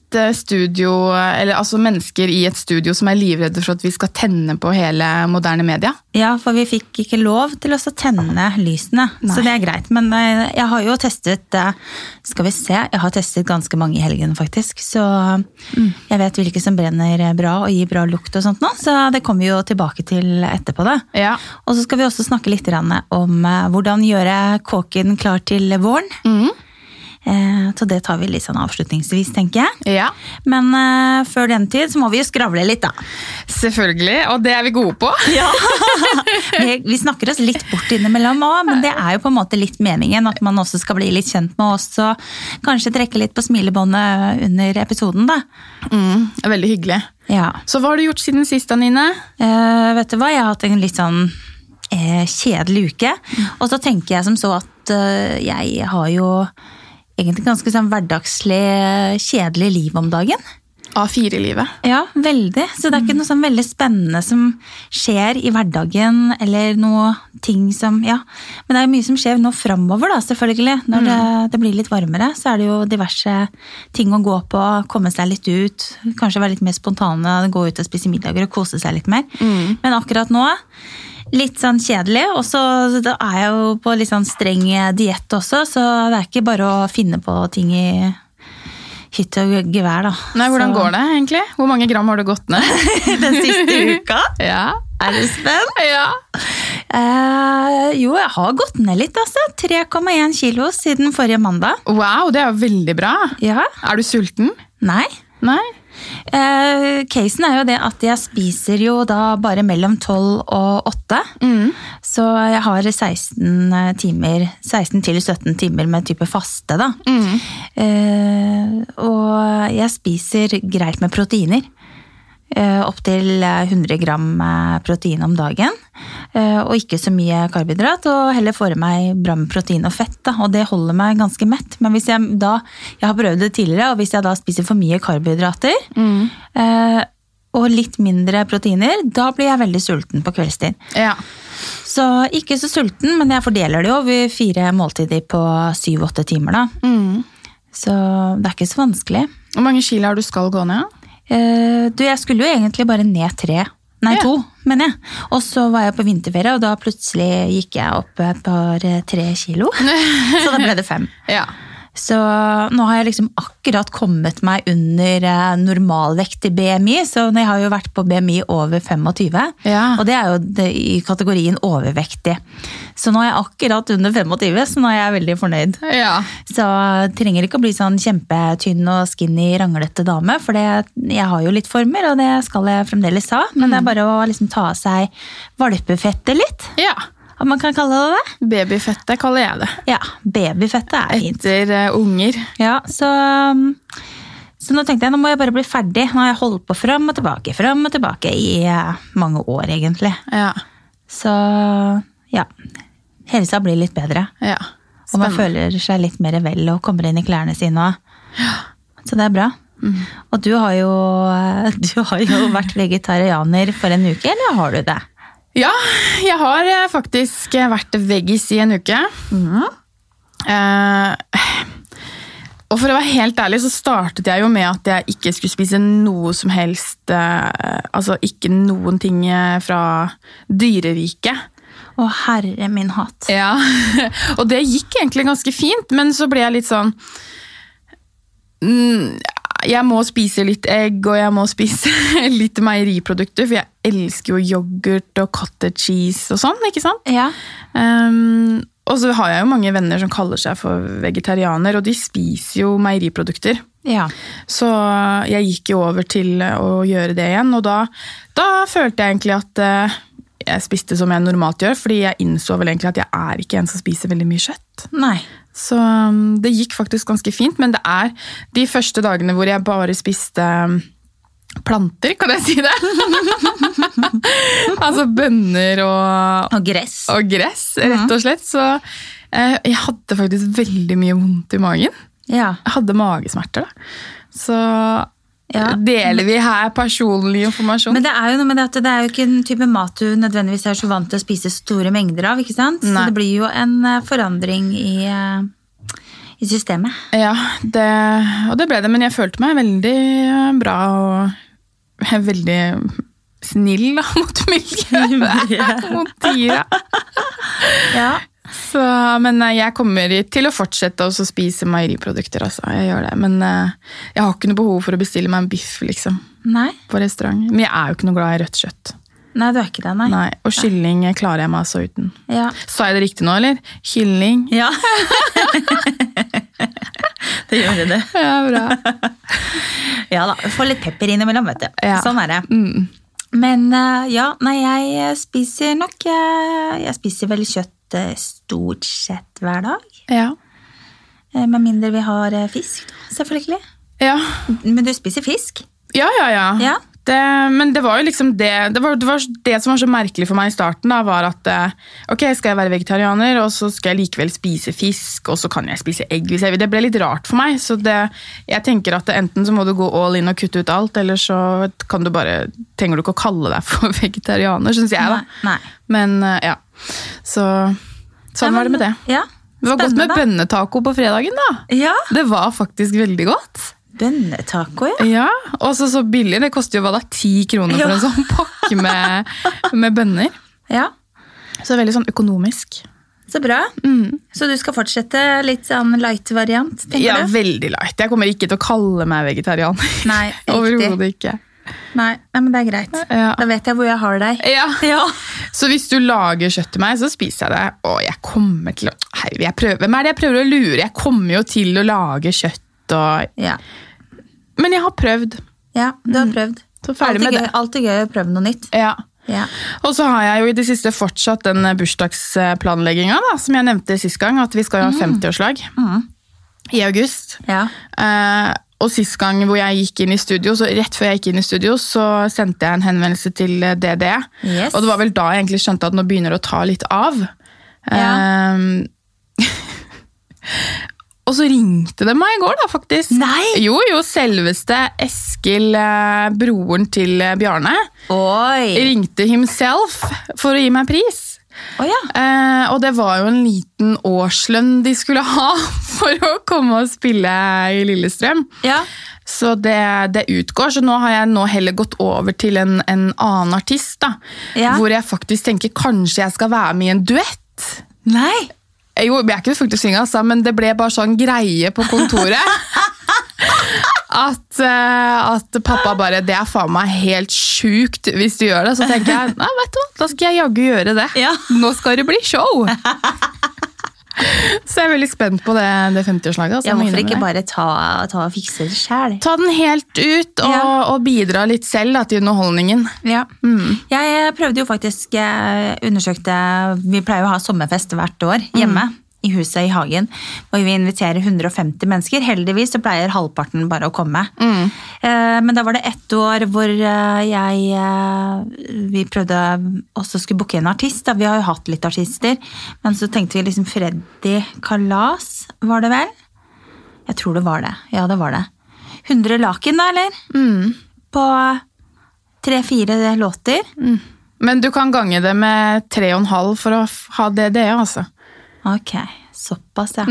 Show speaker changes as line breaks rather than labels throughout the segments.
eh, studio, eller altså mennesker i et studio som er livredde for at vi skal tenne på hele moderne media.
ja, for vi fikk ikke lov til oss å tenne lysene, så
Nei.
det er greit. Men eh, jeg har jo testet eh, Skal vi se, jeg har testet ganske mange i helgen, faktisk. Så
Mm.
jeg vet hvilke som brenner bra og gir bra lukt og sånt nå, så det kommer vi jo tilbake til etterpå, da.
Ja.
Og så skal vi også snakke litt grann om eh, hvordan gjøre kåken klar til våren.
Mm.
Eh, Så det tar vi litt sånn avslutningsvis, tenker jeg.
ja.
Men eh, før den tid så må vi jo skravle litt, da.
Selvfølgelig, og det er vi gode på.
Vi, vi snakker oss litt bort innimellom òg, men det er jo på en måte litt meningen at man også skal bli litt kjent med oss og kanskje trekke litt på smilebåndet under episoden, da.
Mm, det er veldig hyggelig.
Ja.
Så hva har du gjort siden sist, Nine?
Eh, vet du hva, jeg har hatt en litt sånn eh, kjedelig uke. Og så tenker jeg som så at eh, jeg har jo egentlig ganske sånn hverdagslig, kjedelig liv om dagen.
A4-livet.
Ja, veldig. Så det er
Mm.
ikke noe sånn veldig spennende som skjer i hverdagen, eller noe ting som Ja. Men det er jo mye som skjer nå framover, da, selvfølgelig. Når det,
Mm.
det blir litt varmere, så er det jo diverse ting å gå på, komme seg litt ut. Kanskje være litt mer spontane, gå ut og spise middager og kose seg litt mer.
Mm.
Men akkurat nå Litt sånn kjedelig, og så da er jeg jo på litt sånn streng diett også, så det er ikke bare å finne på ting i hytt og gevær, da.
Nei, hvordan
Så-
går det egentlig? Hvor mange gram har du gått ned?
den siste uka.
ja.
Er du spent?
ja.
Eh, jo, jeg har gått ned litt, altså. 3,1 kilo siden forrige mandag.
Wow, det er jo veldig bra.
Ja.
Er du sulten?
Nei.
Nei?
Eh, casen er jo det at jeg spiser jo da bare mellom 12 og 8. Så jeg har 16 timer, 16 til 17 timer med type faste, da. Eh, og jeg spiser greit med proteiner. Eh, Opptil 100 gram eh, protein om dagen. Eh, Og ikke så mye karbohydrat. Og heller får i meg bra med protein og fett. Da. Og det holder meg ganske mett. Men hvis jeg da Jeg har prøvd det tidligere, og hvis jeg da spiser for mye karbohydrater eh, og litt mindre proteiner, da blir jeg veldig sulten på kveldstid.
Ja.
Så ikke så sulten, men jeg fordeler det jo over fire måltider på syv-åtte timer, da.
Mm.
Så det er ikke så vanskelig.
Hvor mange kilo har du skal gå ned?
Eh, du, jeg skulle jo egentlig bare ned tre. Nei,
Ja.
to, mener jeg. Og så var jeg på vinterferie, og da plutselig gikk jeg opp et par eh, tre kilo. så da ble det fem.
Ja.
Så nå har jeg liksom akkurat kommet meg under eh, normalvekt i BMI, så jeg har jo vært på BMI over 25.
Ja.
Og det er jo det, i kategorien overvektig. Så nå er jeg akkurat under 25, så nå er jeg veldig fornøyd.
Ja.
Så jeg trenger ikke å bli sånn kjempetynn og skinny, ranglete dame, for det, jeg har jo litt former, og det skal jeg fremdeles ha. Men det er bare å liksom ta av seg valpefettet litt,
ja.
om man kan kalle det det.
Babyfettet kaller jeg det.
Ja, babyfettet er fint.
Etter eh, unger.
Ja, så, um, så nå tenkte jeg, nå må jeg bare bli ferdig. Nå har jeg holdt på frem og tilbake, frem og tilbake i eh, mange år, egentlig.
Ja.
Så ja, helsa blir litt bedre.
ja.
Og man føler seg litt mer vel og kommer inn i klærne sine. Og, så det er bra. Og du har, jo, du har jo vært vegetarianer for en uke, eller har du det?
Ja, jeg har eh, faktisk eh, vært veggis i en uke.
Mhm.
Eh, og for å være helt ærlig så startet jeg jo med at jeg ikke skulle spise noe som helst, eh, altså ikke noen ting eh, fra dyreriket.
Å, herre min hatt.
Ja, og det gikk egentlig ganske fint, men så ble jeg litt sånn mm, Jeg må spise litt egg, og jeg må spise litt meieriprodukter, for jeg elsker jo yoghurt og cottage cheese og sånn, ikke sant?
Ja.
Ehm, og så har jeg jo mange venner som kaller seg for vegetarianer, og de spiser jo meieriprodukter.
ja.
Så jeg gikk jo over til eh, å gjøre det igjen, og da, da følte jeg egentlig at eh, jeg spiste som jeg normalt gjør, fordi jeg innså vel egentlig at jeg er ikke en som spiser veldig mye kjøtt.
Nei.
Så um, det gikk faktisk ganske fint, men det er de første dagene hvor jeg bare spiste um, planter, kan jeg si det? altså bønner og,
Og gress.
og gress, rett og slett. Så Eh, Jeg hadde faktisk veldig mye vondt i magen.
Ja.
Jeg hadde magesmerter, da. Så
Ja.
deler vi her personlig informasjon.
Men det er jo noe med det at det er jo ikke en type mat du nødvendigvis er så vant til å spise store mengder av. ikke sant? Så
Nei.
det blir jo en eh, forandring i, eh, i systemet.
Ja, det, og det ble det. Men jeg følte meg veldig eh, bra og veldig snill da, mot miljøet. mot dyra.
Ja.
Så, men eh, jeg kommer i- til å fortsette også å spise meieriprodukter, altså. Jeg gjør det. Men eh, jeg har ikke noe behov for å bestille meg en biff, liksom.
Nei.
På restaurant. Men jeg er jo ikke noe glad i rødt kjøtt.
Nei, du er ikke det, nei.
Nei, Og kylling eh, klarer jeg meg altså uten.
Ja.
Sa jeg det riktig nå, eller? Kylling.
ja. det gjør det.
Ja, bra.
Ja da. Få litt pepper innimellom, vet du.
Ja.
Sånn er det.
Mm.
Men eh, ja, nei, jeg spiser nok eh, Jeg spiser vel kjøtt eh, stort sett hver dag.
Ja.
Eh, Med mindre vi har eh, fisk, da, selvfølgelig.
ja.
Men du spiser fisk?
Ja, ja, ja.
Ja.
Det, men det var jo liksom det det, var, det var det som var så merkelig for meg i starten, da, var at eh, ok, skal jeg være vegetarianer, og så skal jeg likevel spise fisk, og så kan jeg spise egg hvis jeg vil. Det ble litt rart for meg. Så det, jeg tenker at det, enten så må du gå all in og kutte ut alt, eller så kan du bare, trenger du ikke å kalle deg for vegetarianer, syns jeg, da.
Nei.
Men eh, ja. Så
Nei,
sånn var det
men-
med det.
Ja.
Det var godt med
Spennende, da.
bønnetaco på fredagen, da.
Ja.
Det var faktisk veldig godt.
Bønnetaco, ja.
Ja, og så så billig. Det koster jo hva da, ti kroner for
Ja.
en sånn pakke med, med bønner.
ja.
Så veldig sånn økonomisk.
Så bra.
Mm.
Så du skal fortsette litt sånn light-variant, tenker
Ja,
du?
veldig light. Jeg kommer ikke til å kalle meg vegetarianer.
Nei, riktig.
Overhodet ikke.
Nei. Nei, men det er greit.
Ja.
Da vet jeg hvor jeg har deg.
Ja.
Ja.
Så hvis du lager kjøtt til meg, så spiser jeg det. Og jeg kommer til å Hei, jeg prøver. Hvem er det jeg prøver å lure? Jeg kommer jo til å lage kjøtt og
Ja.
Men jeg har prøvd.
ja du har prøvd.
Så Mm. ferdig
Alltid
med
gøy,
det.
Alltid gøy å prøve noe nytt.
Ja.
Ja.
Og så har jeg jo i det siste fortsatt den bursdagsplanlegginga da, som jeg nevnte sist gang, at vi skal jo ha
Mm.
50-årslag i august.
Ja.
Eh, og sist gang hvor jeg gikk inn i studio, så rett før jeg gikk inn i studio, så sendte jeg en henvendelse til eh, DD.
Yes.
Og det var vel da jeg egentlig skjønte at nå begynner det å ta litt av.
Ja.
Eh, og så ringte det meg i går, da, faktisk.
Nei!
Jo, jo, selveste Eskil, eh, broren til eh, Bjarne,
Oi!
ringte himself for å gi meg pris.
Å ja.
Eh, og det var jo en liten årslønn de skulle ha for å komme og spille i Lillestrøm.
ja.
Så det, det utgår, så nå har jeg nå heller gått over til en, en annen artist. da,
Ja.
Hvor jeg faktisk tenker kanskje jeg skal være med i en duett.
Nei!
Eh, Jo, jeg er ikke flink til å synge, altså, men det ble bare sånn greie på kontoret. At, eh, at pappa bare Det er faen meg helt sjukt hvis du gjør det. Så tenker jeg nei, vet du hva, da skal jeg jaggu gjøre det.
Ja.
Nå skal det bli show! Så jeg er veldig spent på det, det 50-årslaget. altså,
Ja,
må
hvorfor
innrømme
ikke
det.
bare ta, ta og fikse det sjæl?
Ta den helt ut og,
Ja.
og bidra litt selv da, til underholdningen.
Ja. Jeg prøvde jo faktisk eh, undersøkte Vi pleier jo å ha sommerfest hvert år hjemme. I huset i hagen. Og vi inviterer 150 mennesker. Heldigvis så pleier halvparten bare å komme. Eh, Men da var det ett år hvor eh, jeg eh, Vi prøvde også skulle booke en artist. Da. Vi har jo hatt litt artister. Men så tenkte vi liksom Freddy Kalas, var det vel? Jeg tror det var det. Ja, det var det. 100 laken, da, eller? På tre-fire låter.
Mm. Men du kan gange det med tre og en halv for å f- ha DDE, altså.
Ok, såpass, ja.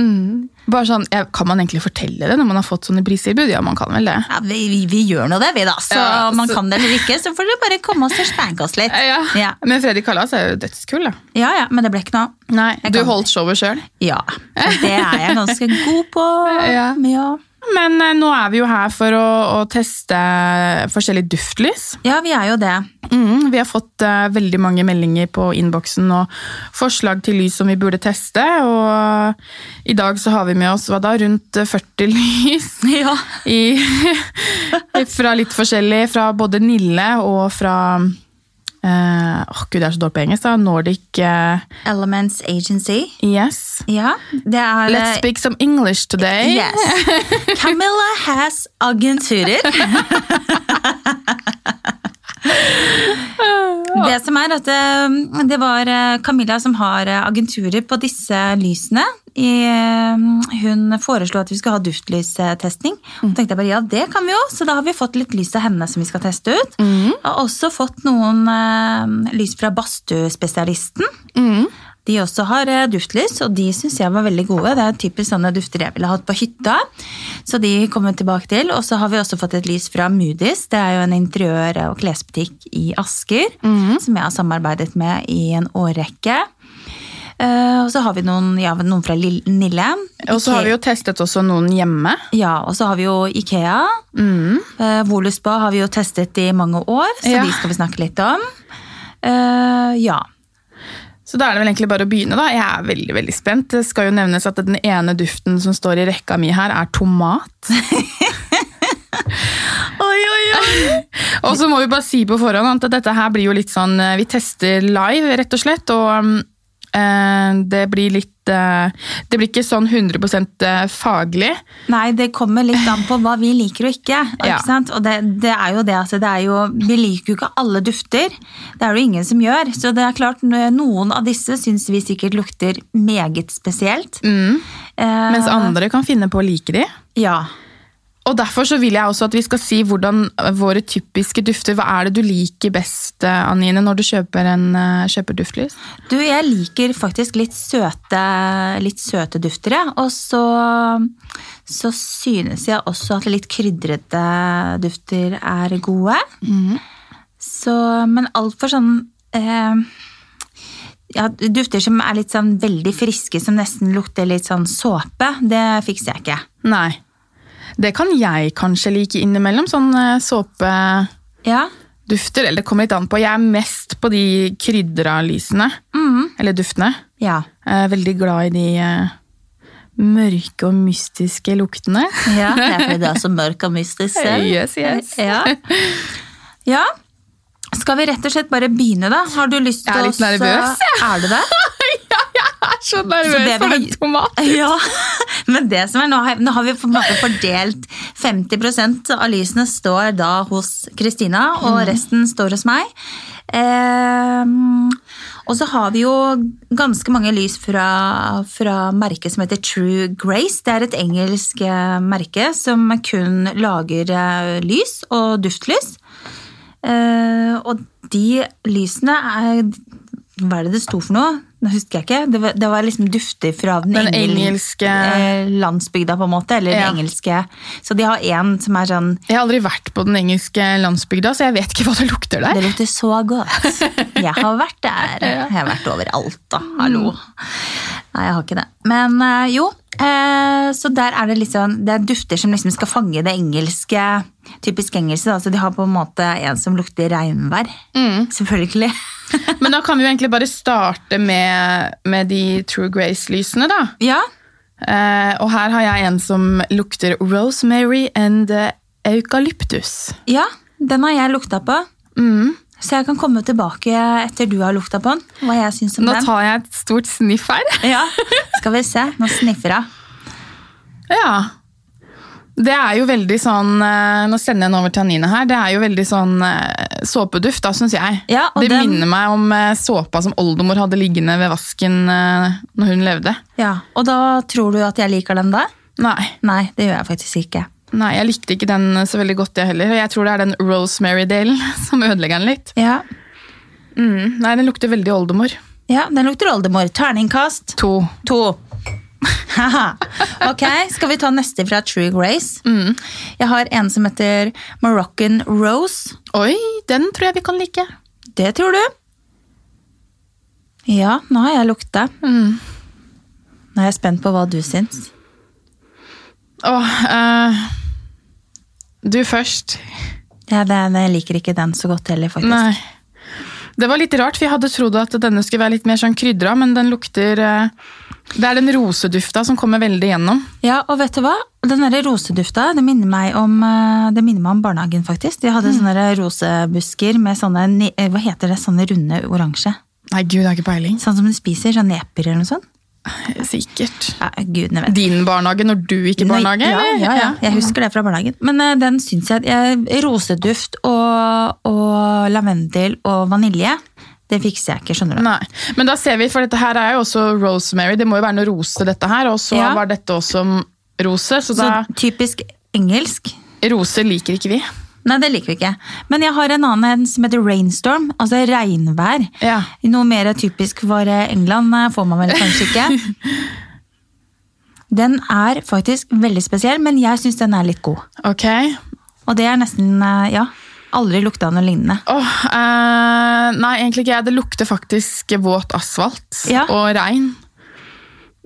Bare sånn, jeg, Kan man egentlig fortelle det når man har fått sånne pristilbud? Ja, man kan vel det.
ja vi, vi, vi gjør nå det, vi, da. Så
Ja,
om man
så-
kan det eller ikke, så får dere bare komme oss og spanke oss litt.
Ja.
ja.
Men Fredrik Kalas er jo dødskul, da.
Ja, ja, men det ble ikke noe av.
Nei,
Jeg
du
kan
holdt showet sjøl.
Ja. så Det er jeg ganske god på.
Ja.
Med å
Men eh, nå er vi jo her for å, å teste forskjellige duftlys.
Ja, vi er jo det.
Mm, vi har fått eh, veldig mange meldinger på innboksen og forslag til lys som vi burde teste. Og i dag så har vi med oss hva da, rundt eh, 40 lys.
Ja.
I, fra litt forskjellig, fra både Nille og fra eh, Åh, gud, jeg er så dårlig på engelsk. da, Nordic eh,
Elements Agency.
Yes.
Ja, det er
Let's speak some English today.
Yes. Camilla has agenturer. Det som er at eh, det var eh, Camilla som har eh, agenturer på disse lysene. I, eh, hun foreslo at vi skulle ha duftlystesting. Og tenkte jeg bare, ja, det kan vi jo. Så da har vi fått litt lys av henne som vi skal teste ut. Har også fått noen eh, lys fra badstuespesialisten. De også har eh, duftlys, og de syns jeg var veldig gode. Det er typisk sånne dufter jeg ville hatt på hytta. Så de kommer vi tilbake til. Og så har vi også fått et lys fra Moody's. Det er jo en interiør- og klesbutikk i Asker
Mhm.
som jeg har samarbeidet med i en årrekke. Eh, og så har vi noen, ja, noen fra Lille- Nille.
Og så har vi jo testet også noen hjemme.
Ja, og så har vi jo Ikea. Eh, Voluspa har vi jo testet i mange år, så
Mhm. Ja.
de skal vi snakke litt om. Eh, ja.
Så da er det vel egentlig bare å begynne, da. Jeg er veldig veldig spent. Det skal jo nevnes at den ene duften som står i rekka mi her, er tomat.
Oi, oi, oi!
Og så må vi bare si på forhånd at dette her blir jo litt sånn eh, Vi tester live, rett og slett. Og mm, eh, det blir litt eh, Det blir ikke sånn 100 faglig.
Nei, det kommer litt an på hva vi liker og ikke.
Ja.
ikke sant? Og det, det er jo det, altså. Det er jo, vi liker jo ikke alle dufter. Det er det jo ingen som gjør. Så det er klart, noen av disse syns vi sikkert lukter meget spesielt.
Mm.
Eh,
Mens andre kan finne på å like de.
Ja.
Og derfor så vil jeg også at vi skal si hvordan eh, våre typiske dufter Hva er det du liker best, eh, Anine, når du kjøper, en, eh, kjøper duftlys?
Du, jeg liker faktisk litt søte, litt søte dufter, jeg. Og så, så synes jeg også at litt krydrete dufter er gode. Så, men altfor sånn eh, ja, Dufter som er litt sånn veldig friske, som nesten lukter litt sånn såpe, det fikser jeg ikke.
Nei. Det kan jeg kanskje like innimellom, sånn eh, såpedufter.
Ja,
Eller det kommer litt an på. Jeg er mest på de krydra lysene. Eller duftene.
ja.
Jeg er veldig glad i de eh, mørke og mystiske luktene.
Ja, det er fordi det er så mørk og mystisk selv.
Yes, yes.
Ja. ja. Skal vi rett og slett bare begynne, da? Har du lyst
Jeg
til
er litt nervøs,
Er du det?
ja, jeg er så nervøs
det
for
vil-
den tomaten!
Ja. Men det som er, nå har, nå har vi på en måte fordelt 50 av lysene står da hos Kristina, og resten står hos meg. Ehm, og så har vi jo ganske mange lys fra, fra merket som heter True Grace. Det er et engelsk eh, merke som kun lager eh, lys og duftlys. Eh, og de lysene er Hva er det det sto for noe? Nå husker jeg ikke. Det var, det var liksom dufter fra den,
Den
engel-
engelske-
eh, landsbygda, på en måte. Eller
Ja.
den engelske. Så de har én som er sånn
Jeg har aldri vært på den engelske landsbygda, så jeg vet ikke hva det lukter der.
Det lukter så godt. Jeg har vært der. Jeg har vært overalt, da. Hallo.
Mm.
Nei, jeg har ikke det. Men eh, jo, eh, så der er det litt sånn Det er dufter som liksom skal fange det engelske. Typisk engelske, da. Så de har på en måte en som lukter regnvær.
Mm.
Selvfølgelig.
Men da kan vi jo egentlig bare starte med, med de True Grace-lysene, da.
ja.
Eh, og her har jeg en som lukter rosemary and eh, eukalyptus.
ja. Den har jeg lukta på. Så jeg kan komme tilbake etter du har lukta på den. Hva jeg syns om
Nå
den.
tar jeg et stort sniff her.
Ja. Skal vi se. Nå sniffer hun.
Ja. Det er jo veldig sånn eh, Nå sender jeg den over til Anine her. Det er jo veldig sånn eh, såpeduft, da, syns jeg.
Ja, og
det
den-
minner meg om eh, såpa som oldemor hadde liggende ved vasken eh, når hun levde.
Ja. Og da tror du at jeg liker den da?
Nei.
Nei, det gjør jeg faktisk ikke.
Nei, jeg likte ikke den så veldig godt, jeg heller. Jeg tror det er den rosemary-delen som ødelegger den litt.
Ja, Mm.
Nei, den lukter veldig oldemor.
ja den lukter oldemor. Terningkast
To.
to. Haha. ok, skal vi ta neste fra True Grace? Jeg har en som heter Moroccan Rose.
Oi, den tror jeg vi kan like.
Det tror du? Ja, nå har jeg lukta. Nå er jeg spent på hva du syns.
Åh, eh, du først.
Ja, det, jeg liker ikke den så godt heller, faktisk.
Nei. Det var litt rart, for jeg hadde trodd at denne skulle være litt mer sånn krydra, men den lukter eh, Det er den rosedufta som kommer veldig gjennom.
Ja, og vet du hva? Den der rosedufta det minner, meg om, eh, det minner meg om barnehagen, faktisk. De hadde sånne der rosebusker med sånne ni- eh, hva heter det, sånne runde oransje.
Nei, gud, jeg har ikke peiling.
Sånn som du spiser, sånn neper eller noe sånt.
Sikkert.
Ja, gudene vet.
Din barnehage når du gikk i barnehage?
ja,
eller?
ja, ja, jeg husker det fra barnehagen. Men eh, den syns jeg, at jeg Roseduft og, og lavendel og vanilje Det fikser jeg ikke, skjønner du.
Nei. Men da ser vi, for dette her er jo også rosemary. Det må jo være noe rose, dette her. Og så
Ja.
var dette også rose, så
Så
da
typisk engelsk.
Rose liker ikke vi.
Nei, det liker vi ikke. Men jeg har en annen en som heter rainstorm, altså regnvær.
Ja.
Noe mer typisk for eh, England eh, får man vel kanskje ikke. Den er faktisk veldig spesiell, men jeg syns den er litt god.
Ok.
Og det er nesten eh, Ja. Aldri lukta noe lignende.
Åh, eh, nei, egentlig ikke jeg. Det lukter faktisk våt asfalt
Ja.
og regn.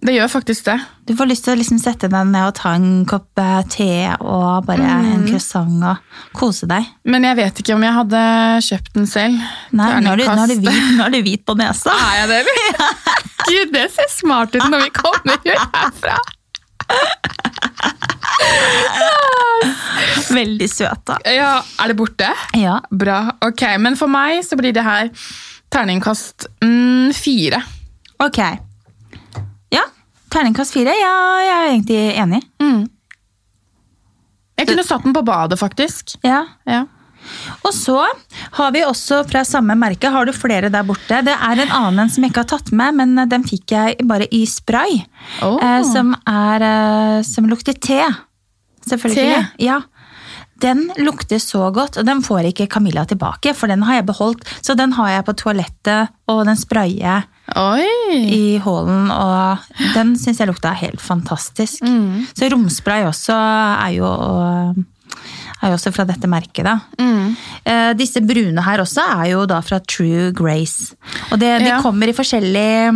Det gjør faktisk det.
Du får lyst til å liksom sette deg ned og ta en kopp eh, te og bare en croissant og kose deg.
Men jeg vet ikke om jeg hadde kjøpt den selv.
Nei,
Det er
nå er, du, nå, er du
terningkast.
hvit, nå er du hvit på nesa.
Er jeg det, eller? Gud, det ser smart ut når vi kommer ut herfra.
Veldig søt, da.
Ja, er det borte?
Ja.
Bra. Ok, men for meg så blir det her terningkast mm, fire.
Ok. Ja. Terningkast fire. Ja, jeg er egentlig enig.
Mm. Jeg kunne satt den på badet, faktisk.
Ja.
Ja.
Og så har vi også fra samme merke, har du flere der borte? Det er en annen en som jeg ikke har tatt med, men eh, den fikk jeg bare i spray.
Åh.
Eh, som, er, eh, som lukter te. Selvfølgelig.
Te?
Ja. Den lukter så godt, og den får ikke Camilla tilbake, for den har jeg beholdt. Så den har jeg på toalettet, og den sprayer jeg
Oi!
i hallen, og den syns jeg lukta helt fantastisk.
Mm.
Så romspray også er jo er jo også fra dette merket, da.
Mm.
Eh, disse brune her også er jo da fra True Grace. Og det, de
Ja.
kommer i forskjellig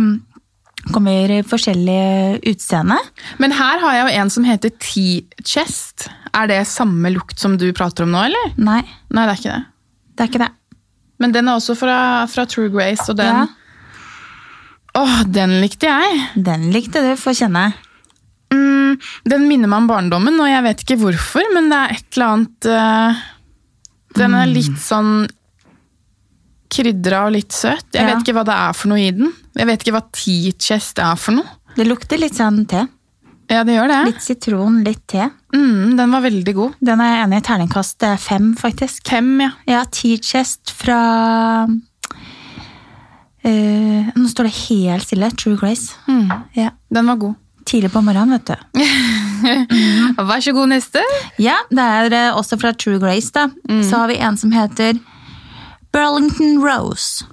kommer i forskjellig utseende.
Men her har jeg jo en som heter Tea Chest. Er det samme lukt som du prater om nå, eller?
Nei,
Nei, det er ikke det.
det er ikke det.
Men den er også fra, fra True Grace, og den
Ja.
Åh, den likte jeg!
Den likte du, få kjenne.
Mm, den minner meg om barndommen, og jeg vet ikke hvorfor, men det er et eller annet eh, Den er litt sånn krydra og litt søt. Jeg
Ja.
vet ikke hva det er for noe i den. Jeg vet ikke hva tea chest er for noe.
Det lukter litt sånn te.
Ja, det gjør det.
Litt sitron, litt te.
Mm, den var veldig god.
Den er jeg enig i. Terningkast eh, fem, faktisk.
Fem, ja.
Ja, T-chest fra eh, Nå står det helt stille. True Grace. Ja.
Den var god.
Tidlig på morgenen, vet du.
Vær så god, neste.
Ja, det er eh, også fra True Grace, da. Så har vi en som heter Burlington Rose.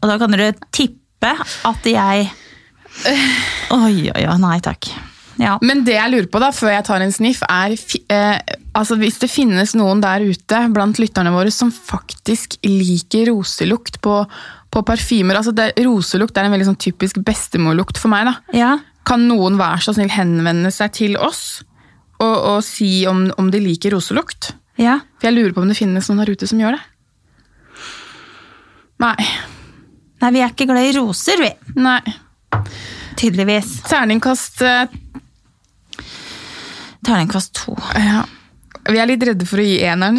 Og da kan dere tippe at jeg Oi, oi, oi. Nei takk. Ja.
Men det jeg lurer på da, før jeg tar en sniff, er fi- eh, altså hvis det finnes noen der ute blant lytterne våre som faktisk liker roselukt på, på parfymer. Altså det, roselukt er en veldig sånn typisk bestemorlukt for meg. da.
ja.
Kan noen være så snill henvende seg til oss og, og si om, om de liker roselukt?
Ja.
For jeg lurer på om det finnes noen der ute som gjør det. Nei.
Nei, vi er ikke glad i roser, vi.
Nei.
Tydeligvis.
Terningkast eh,
Terningkast to.
ja. Vi er litt redde for å gi eneren.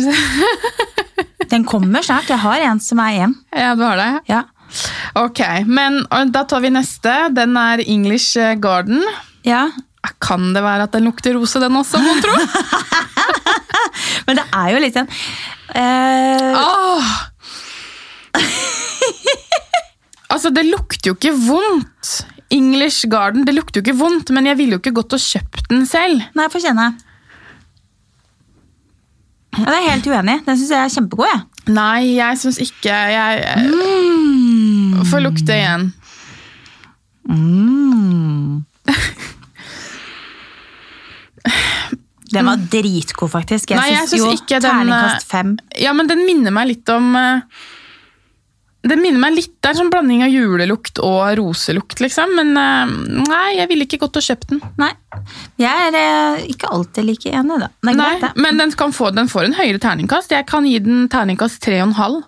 Den kommer snart. Jeg har en som er en.
ja, du har det.
Ja.
Ok, men og da tar vi neste. Den er English eh, Garden. Ah,
ja.
Kan det være at den lukter rose, den også, mon tro?
Men det er jo litt sånn eh,
Åh! altså, det lukter jo ikke vondt. English Garden, det lukter jo ikke vondt, men jeg ville jo ikke gått og kjøpt den selv.
Nei, få kjenne. Ja, det er jeg helt uenig. i. Den syns jeg er kjempegod. jeg.
Nei, jeg syns ikke Jeg eh, får lukte igjen.
Den var dritgod, faktisk. Jeg
Mm. Nei, jeg
syns
syns
jo
ikke den,
terningkast
eh,
fem.
Ja, men den minner meg litt om eh, Den minner meg litt, Det er en sånn blanding av julelukt og roselukt, liksom. Men eh, nei, jeg ville ikke gått og kjøpt den.
Nei. Jeg er eh, ikke alltid like enig, da. Det er
Nei,
greit, det.
men den, kan få, den får en høyere terningkast. Jeg kan gi den terningkast 3,5.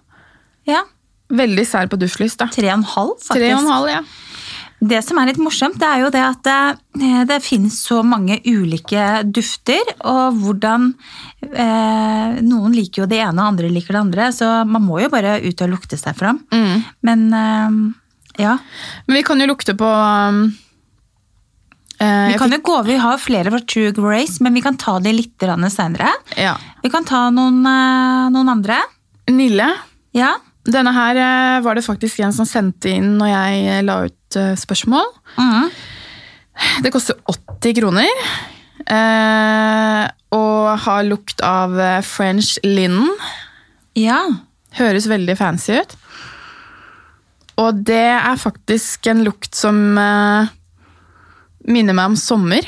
Ja,
Veldig sær på duftlys, da.
Tre og en halv, faktisk.
3,5, ja.
Det som er litt morsomt, det er jo det at det, det finnes så mange ulike dufter, og hvordan eh, Noen liker jo det ene, og andre liker det andre, så man må jo bare ut og lukte seg fram. Men eh, ja.
Men vi kan jo lukte på um, eh,
Vi kan jo gå over, vi har flere fra True Grace, men vi kan ta de litt seinere.
ja.
Vi kan ta noen, eh, noen andre.
Nille.
Ja.
Denne her eh, var det faktisk en som sendte inn når jeg eh, la ut eh, spørsmål.
Mhm.
Det koster 80 kroner. Eh, og har lukt av eh, French linen.
Ja.
Høres veldig fancy ut. Og det er faktisk en lukt som eh, minner meg om sommer.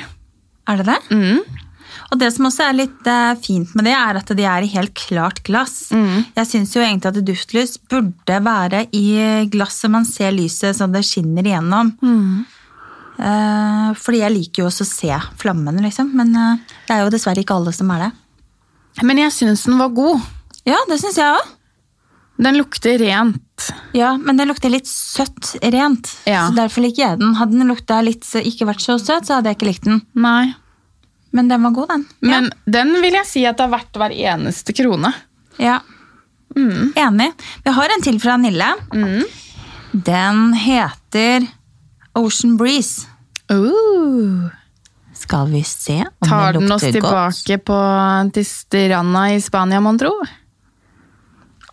Er det det?
Mm.
Og det som også er litt eh, fint med det, er at de er i helt klart glass. Jeg syns jo egentlig at duftlys burde være i glass, så man ser lyset så det skinner igjennom. Eh, fordi jeg liker jo også å se flammene, liksom. Men eh, det er jo dessverre ikke alle som er det.
Men jeg syns den var god.
Ja, det syns jeg òg.
Den lukter rent.
Ja, men den lukter litt søtt rent.
Ja.
Så derfor liker jeg den. Hadde den lukta litt så- ikke vært så søt, så hadde jeg ikke likt den.
Nei.
Men den var god, den.
Men den vil jeg si at det er verdt hver eneste krone.
Ja.
Mm.
Enig. Vi har en til fra Nille. Den heter Ocean Breeze. Skal vi se om
Tar
det
den oss
lukter godt?
tilbake på, til stranda i Spania, mon tro?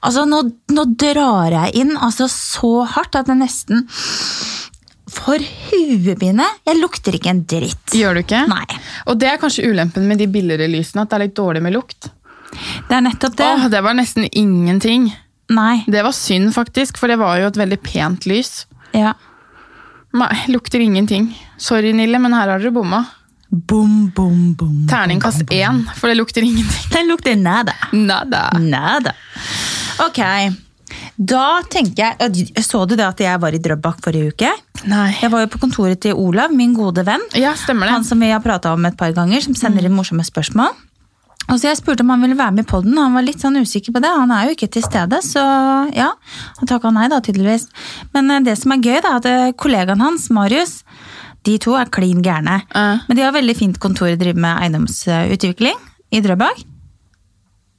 Altså, nå, nå drar jeg inn altså, så hardt at det nesten For huebine! Jeg lukter ikke en dritt.
Gjør du ikke?
Nei.
Og det er kanskje ulempen med de billigere lysene, at det er litt dårlig med lukt.
Det er nettopp det.
Åh, det var nesten ingenting.
Nei.
Det var synd, faktisk, for det var jo et veldig pent lys.
Ja.
Nei, lukter ingenting. Sorry, Nille, men her har dere bomma.
Bom, bom, bom.
Terningkast én, for det lukter ingenting.
Den lukter nada.
Nada.
Nada. Ok. Da tenker jeg Så du det at jeg var i Drøbak forrige uke?
Nei.
Jeg var jo på kontoret til Olav, min gode venn.
Ja, stemmer
Han
det.
som vi har prata om et par ganger, som sender inn morsomme spørsmål. Og så Jeg spurte om han ville være med i poden, og han var litt sånn usikker på det. Han er jo ikke til stede, så ja. Han takka nei, da, tydeligvis. Men eh, det som er gøy, da, er at eh, kollegaen hans, Marius, de to er klin gærne.
Ja.
Men de har veldig fint kontor, driver med eiendomsutvikling i Drøbak.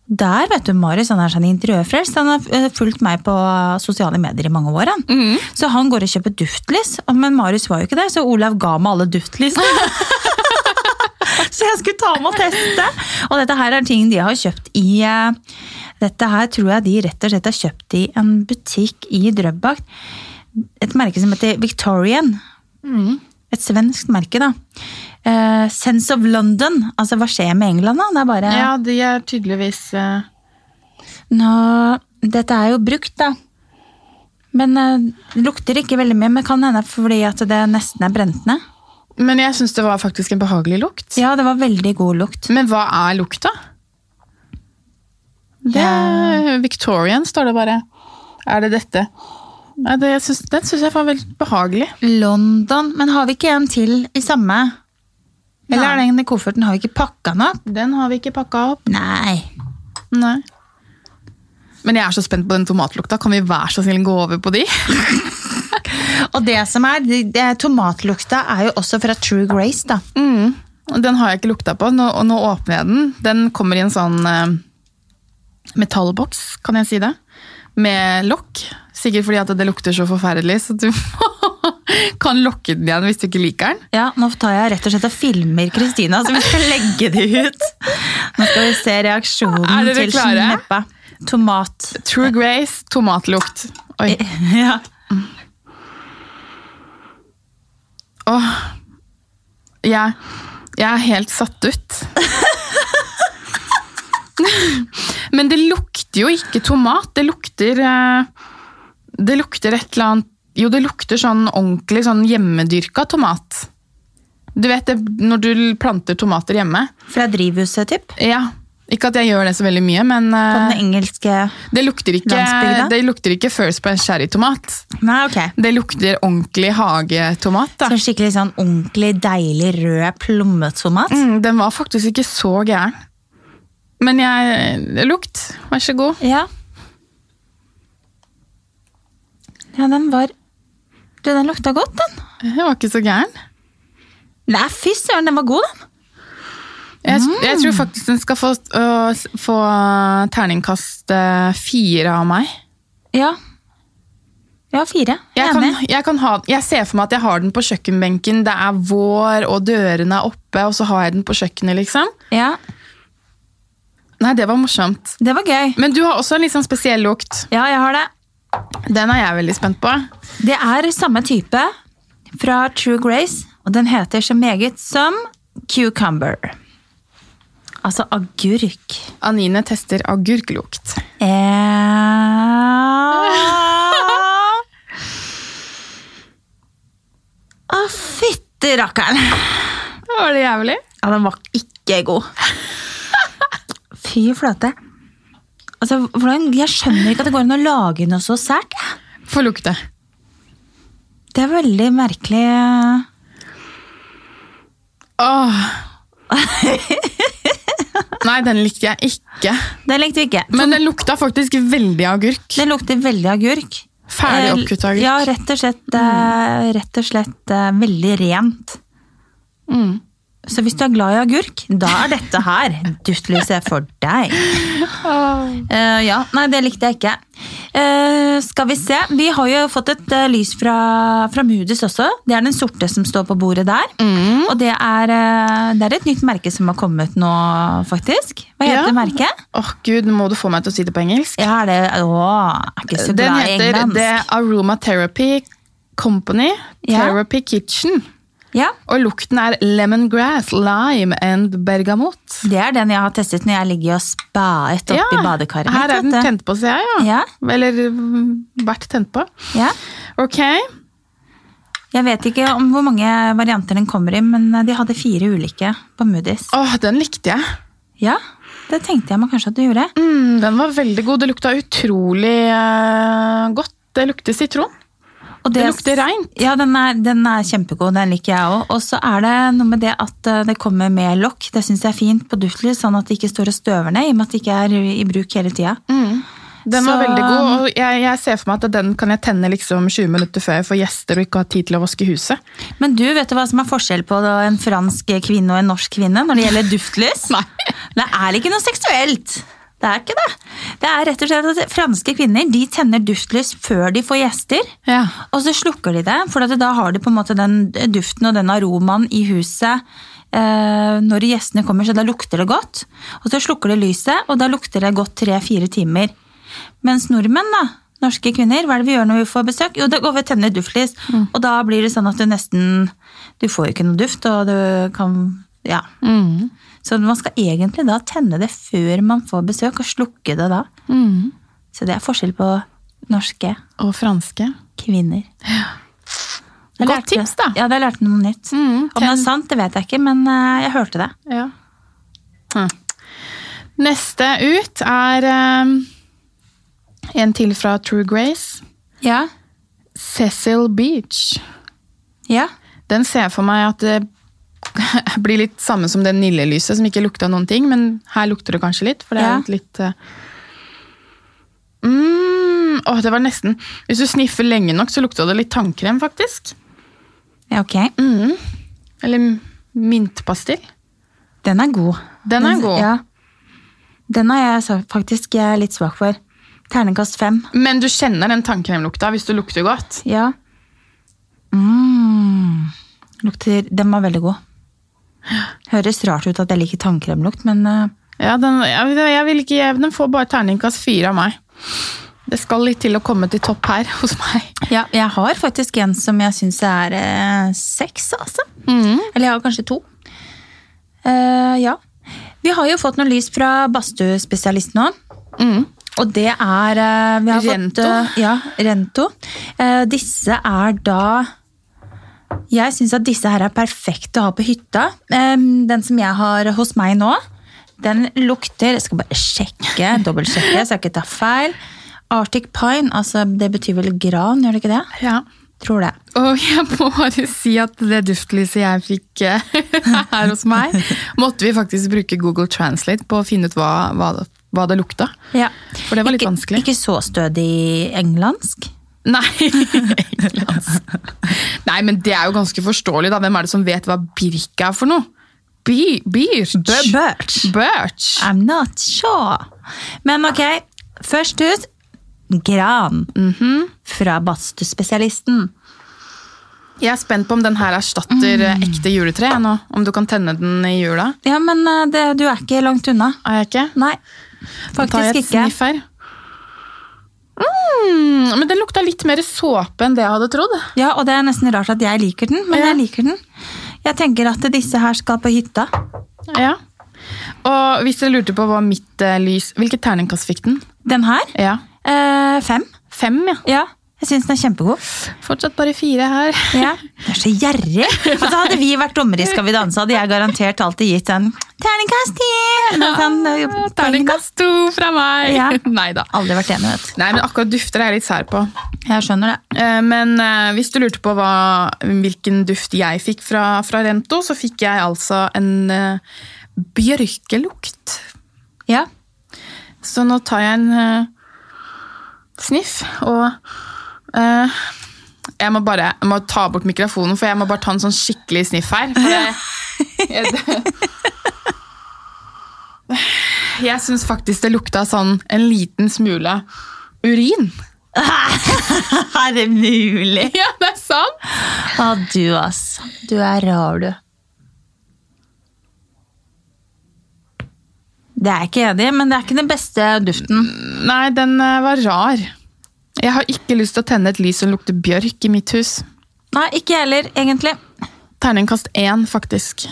Der, vet du, Marius han er sånn interiørfrelst. Han har eh, fulgt meg på sosiale medier i mange år. Han. Så han går og kjøper duftlys, og- men Marius var jo ikke der, så Olav ga meg alle duftlysene. så jeg skulle ta med og teste. Og dette her er ting de har kjøpt i eh, Dette her tror jeg de rett og slett har kjøpt i en butikk i Drøbak. Et merke som heter Victorian. Et svensk merke, da. Eh, Sense of London. Altså, hva skjer med England, da? Det er bare
Ja, de er tydeligvis eh,
nå, dette er jo brukt, da. Men eh, det lukter ikke veldig mye, men kan hende fordi at det nesten er brent ned.
Men jeg syns det var faktisk en behagelig lukt.
Ja, det var veldig god lukt.
Men hva er lukta? Det er Victorian, står det bare. Er det dette? Nei, det, jeg synes, den syns jeg var veldig behagelig.
London, men har vi ikke en til i samme? Eller
Nei.
er den i kofferten? Har vi ikke pakka den opp?
Den har vi ikke pakka opp.
Nei.
Nei. Men jeg er så spent på den tomatlukta. Kan vi vær så snill gå over på de?
Og det som er, det- det- tomatlukta er jo også fra True Grace, da.
Mm. Den har jeg ikke lukta på, nå, og nå åpner jeg den. Den kommer i en sånn eh, metallboks, kan jeg si det. Med lokk. Sikkert fordi at det lukter så forferdelig, så du kan lokke den igjen hvis du ikke liker den.
Ja, nå tar jeg rett og slett og filmer Kristina, så vi skal legge det ut. Nå skal vi se
Er
reaksjonen
dere
til
klare?
sneppa. Tomat.
True Grace, tomatlukt. Oi.
Ja.
Åh. Jeg, jeg er helt satt ut. Men det lukter jo ikke tomat. Det lukter eh, Det lukter et eller annet Jo, det lukter sånn ordentlig sånn hjemmedyrka tomat. Du vet det når du planter tomater hjemme?
Fra drivhuset, typ.
Ja. Ikke at jeg gjør det så veldig mye, men eh,
På den engelske
det, lukter ikke,
landsbygda?
det lukter ikke First Branch Cherry-tomat.
Nei, ok.
Det lukter ordentlig hagetomat. da.
Så skikkelig sånn ordentlig deilig rød plommetomat.
Mm, den var faktisk ikke så gæren. Men jeg Lukt, vær så god.
Ja. Ja, den var Du, den lukta godt, den.
Den var ikke så gæren.
Nei, fy søren, den var god, den.
Jeg, jeg tror faktisk den skal få, øh, s- få terningkast øh, fire av meg.
Ja. Ja, fire.
Jeg, kan,
Enig.
jeg, kan ha, jeg ser for meg at jeg har den på kjøkkenbenken, det er vår, og dørene er oppe, og så har jeg den på kjøkkenet, liksom.
Ja,
Nei, det var morsomt.
det var gøy.
Men du har også en litt sånn spesiell lukt.
Ja, jeg har det.
Den er jeg veldig spent på.
Det er samme type fra True Grace, og den heter så meget som cucumber. Altså agurk.
Anine tester agurklukt.
Eh... Å, fytti rakkeren!
Var det jævlig?
Ja, den var ikke god. Fy flate. Altså, hvordan, Jeg skjønner ikke at det går an å lage noe så sært. jeg.
Få lukte.
Det er veldig merkelig. eh.
Åh. Nei, den likte jeg ikke.
Den likte vi ikke.
Men den lukta faktisk veldig agurk.
Den lukter veldig agurk.
Ferdig
Eh,
oppkuttet agurk.
Ja, rett og slett, eh, rett og slett eh, veldig rent.
Mm.
Så hvis du er glad i agurk, da er dette her duftlyset for deg. Eh, ja, nei, det likte jeg ikke. Eh, skal vi se. Vi har jo fått et eh, lys fra, fra Moody's også. Det er den sorte som står på bordet der.
Mm.
Og det er, eh, det er et nytt merke som har kommet nå, faktisk. Hva
Ja.
heter merket?
Åh, gud, nå må du få meg til å si det på engelsk.
Ja, er det Å, er ikke så
Den
glad i
heter
engelsk.
The Aromatherapy Company
Ja.
Therapy Kitchen.
Ja,
Og lukten er lemongrass, lime and bergamot.
det er den jeg har testet når jeg ligger og spaet oppi
Ja,
badekaret.
Her er
mitt,
den
vet du.
tent på, ser jeg.
Ja.
Eller mm, vært tent på.
Ja.
Ok.
Jeg vet ikke om hvor mange varianter den kommer i, men eh, de hadde fire ulike på Moody's.
Åh, den likte jeg.
Ja, det tenkte jeg meg kanskje at du gjorde.
Mm, den var veldig god. Det lukta utrolig eh, godt. Det lukter sitron.
Og
Det lukter reint.
Ja, den er, den er kjempegod. Den liker jeg òg. Og så er det noe med det at eh, det kommer med lokk. Det syns jeg er fint på duftlys, sånn at det ikke står og støver ned, i og med at det ikke er i bruk hele tida.
Mm. Den var
Så-
veldig god, og jeg, jeg ser for meg at den kan jeg tenne liksom 20 minutter før jeg får gjester og ikke har tid til å vaske huset.
Men du, vet du hva som er forskjell på da en fransk kvinne og en norsk kvinne når det gjelder duftlys?
Nei.
Det er ikke noe seksuelt. Det er ikke det. Det er rett og slett at franske kvinner de tenner duftlys før de får gjester.
Ja.
Og så slukker de det, for at da har de på en måte den duften og den aromaen i huset eh, når gjestene kommer, så da lukter det godt. Og så slukker de lyset, og da lukter det godt tre-fire timer. Mens nordmenn, da, norske kvinner, hva er det vi gjør når vi får besøk? Jo, da går vi og tenner duftlys, og da blir det sånn at du nesten Du får jo ikke noe duft, og du kan Ja.
Mm.
Så man skal egentlig da tenne det før man får besøk, og slukke det da. Så det er forskjell på norske
Og franske.
kvinner. Da
Godt
lærte jeg-
tips, da. Mm,
Ja, da lærte jeg noe nytt. Om det er sant, det vet jeg ikke, men eh, jeg hørte det.
Ja. Hm. Neste ut er eh, en til fra True Grace.
Ja.
Cecil Beach.
Ja.
Den ser jeg for meg at det blir litt samme som det nillelyset, som ikke lukta noen ting, men her lukter det kanskje litt, for det er
Ja.
et litt eh, mm, Åh, det var nesten Hvis du sniffer lenge nok, så lukta det litt tannkrem, faktisk.
ja, ok.
Mm. Eller m- myntpastill.
Den er god.
Den er god.
Ja. Den er jeg så- faktisk eh, litt svak for. Terningkast fem.
Men du kjenner den tannkremlukta hvis du lukter godt.
Ja. Mm. Lukter Den var veldig god. Høres rart ut at jeg liker tannkremlukt, men eh,
Ja, den, jeg, jeg vil ikke, jeg, den får bare terningkast fire av meg. Det skal litt til å komme til topp her hos meg.
ja, jeg har faktisk en som jeg syns er eh, seks, altså.
Mm.
Eller jeg har kanskje to. Eh, ja. Vi har jo fått noe lys fra badstuespesialisten nå.
Mm.
Og det er eh, vi har
Rento.
Fått, eh, ja, Rento. Eh, disse er da Jeg syns at disse her er perfekte å ha på hytta. Eh, den som jeg har hos meg nå, den lukter Jeg skal bare sjekke, dobbeltsjekke, så jeg ikke tar feil. Arctic pine, altså det betyr vel gran, gjør det ikke det?
Ja.
Tror det.
Og jeg må bare si at det duftlyset jeg fikk eh, her hos meg, måtte vi faktisk bruke Google Translate på å finne ut hva, hva, det- hva det lukta.
Ja.
For det var litt
ikke,
vanskelig.
Ikke så stødig englandsk.
Nei, Englands. Nei, men det er jo ganske forståelig, da. Hvem er det som vet hva birk er for noe? Bi- Birch.
Birch.
Birch.
I'm not sure. Men ok, først ut Gran
Mhm.
fra badstuespesialisten.
Jeg er spent på om den her erstatter eh, ekte juletre jeg, nå. Om du kan tenne den i jula.
Ja, men eh, det, du er ikke langt unna.
Er jeg ikke?
Nei,
Da tar jeg
faktisk
et
ikke.
sniff her. Mm, men den lukta litt mer såpe enn det jeg hadde trodd.
Ja, og det er nesten rart at jeg liker den, men
Ja.
jeg liker den. Jeg tenker at disse her skal på hytta.
Ja. Og hvis dere lurte på hva mitt eh, lys Hvilket terningkast fikk den?
Den her,
Ja.
eh, fem.
Fem, ja.
Ja, jeg syns den er kjempegod.
Fortsatt bare fire her.
Ja. Du er så gjerrig. Altså, hadde vi vært dommere i Skal vi danse, hadde jeg garantert alltid gitt en terningkast ti. Nå kan, eh, poeng, da.
Terningkast to fra meg!
Ja.
Nei da.
Aldri vært enig, vet
Nei, men akkurat dufter er jeg litt sær på.
du. Jeg skjønner det.
Eh, Men eh, hvis du lurte på hva, hvilken duft jeg fikk fra, fra Rento, så fikk jeg altså en eh, bjørkelukt.
Ja.
Så nå tar jeg en eh, sniff, og eh, jeg må bare jeg må ta bort mikrofonen, for jeg må bare ta en sånn skikkelig sniff her. For jeg jeg, jeg syns faktisk det lukta sånn en liten smule urin.
Er det mulig?
Ja, det er sant!
Å, du, ass. Du er rar, du. Det er jeg ikke enig i, men det er ikke den beste duften.
Nei, den eh, var rar. Jeg har ikke lyst til å tenne et lys som lukter bjørk i mitt hus.
Nei, ikke jeg heller, egentlig.
Terningkast én, faktisk.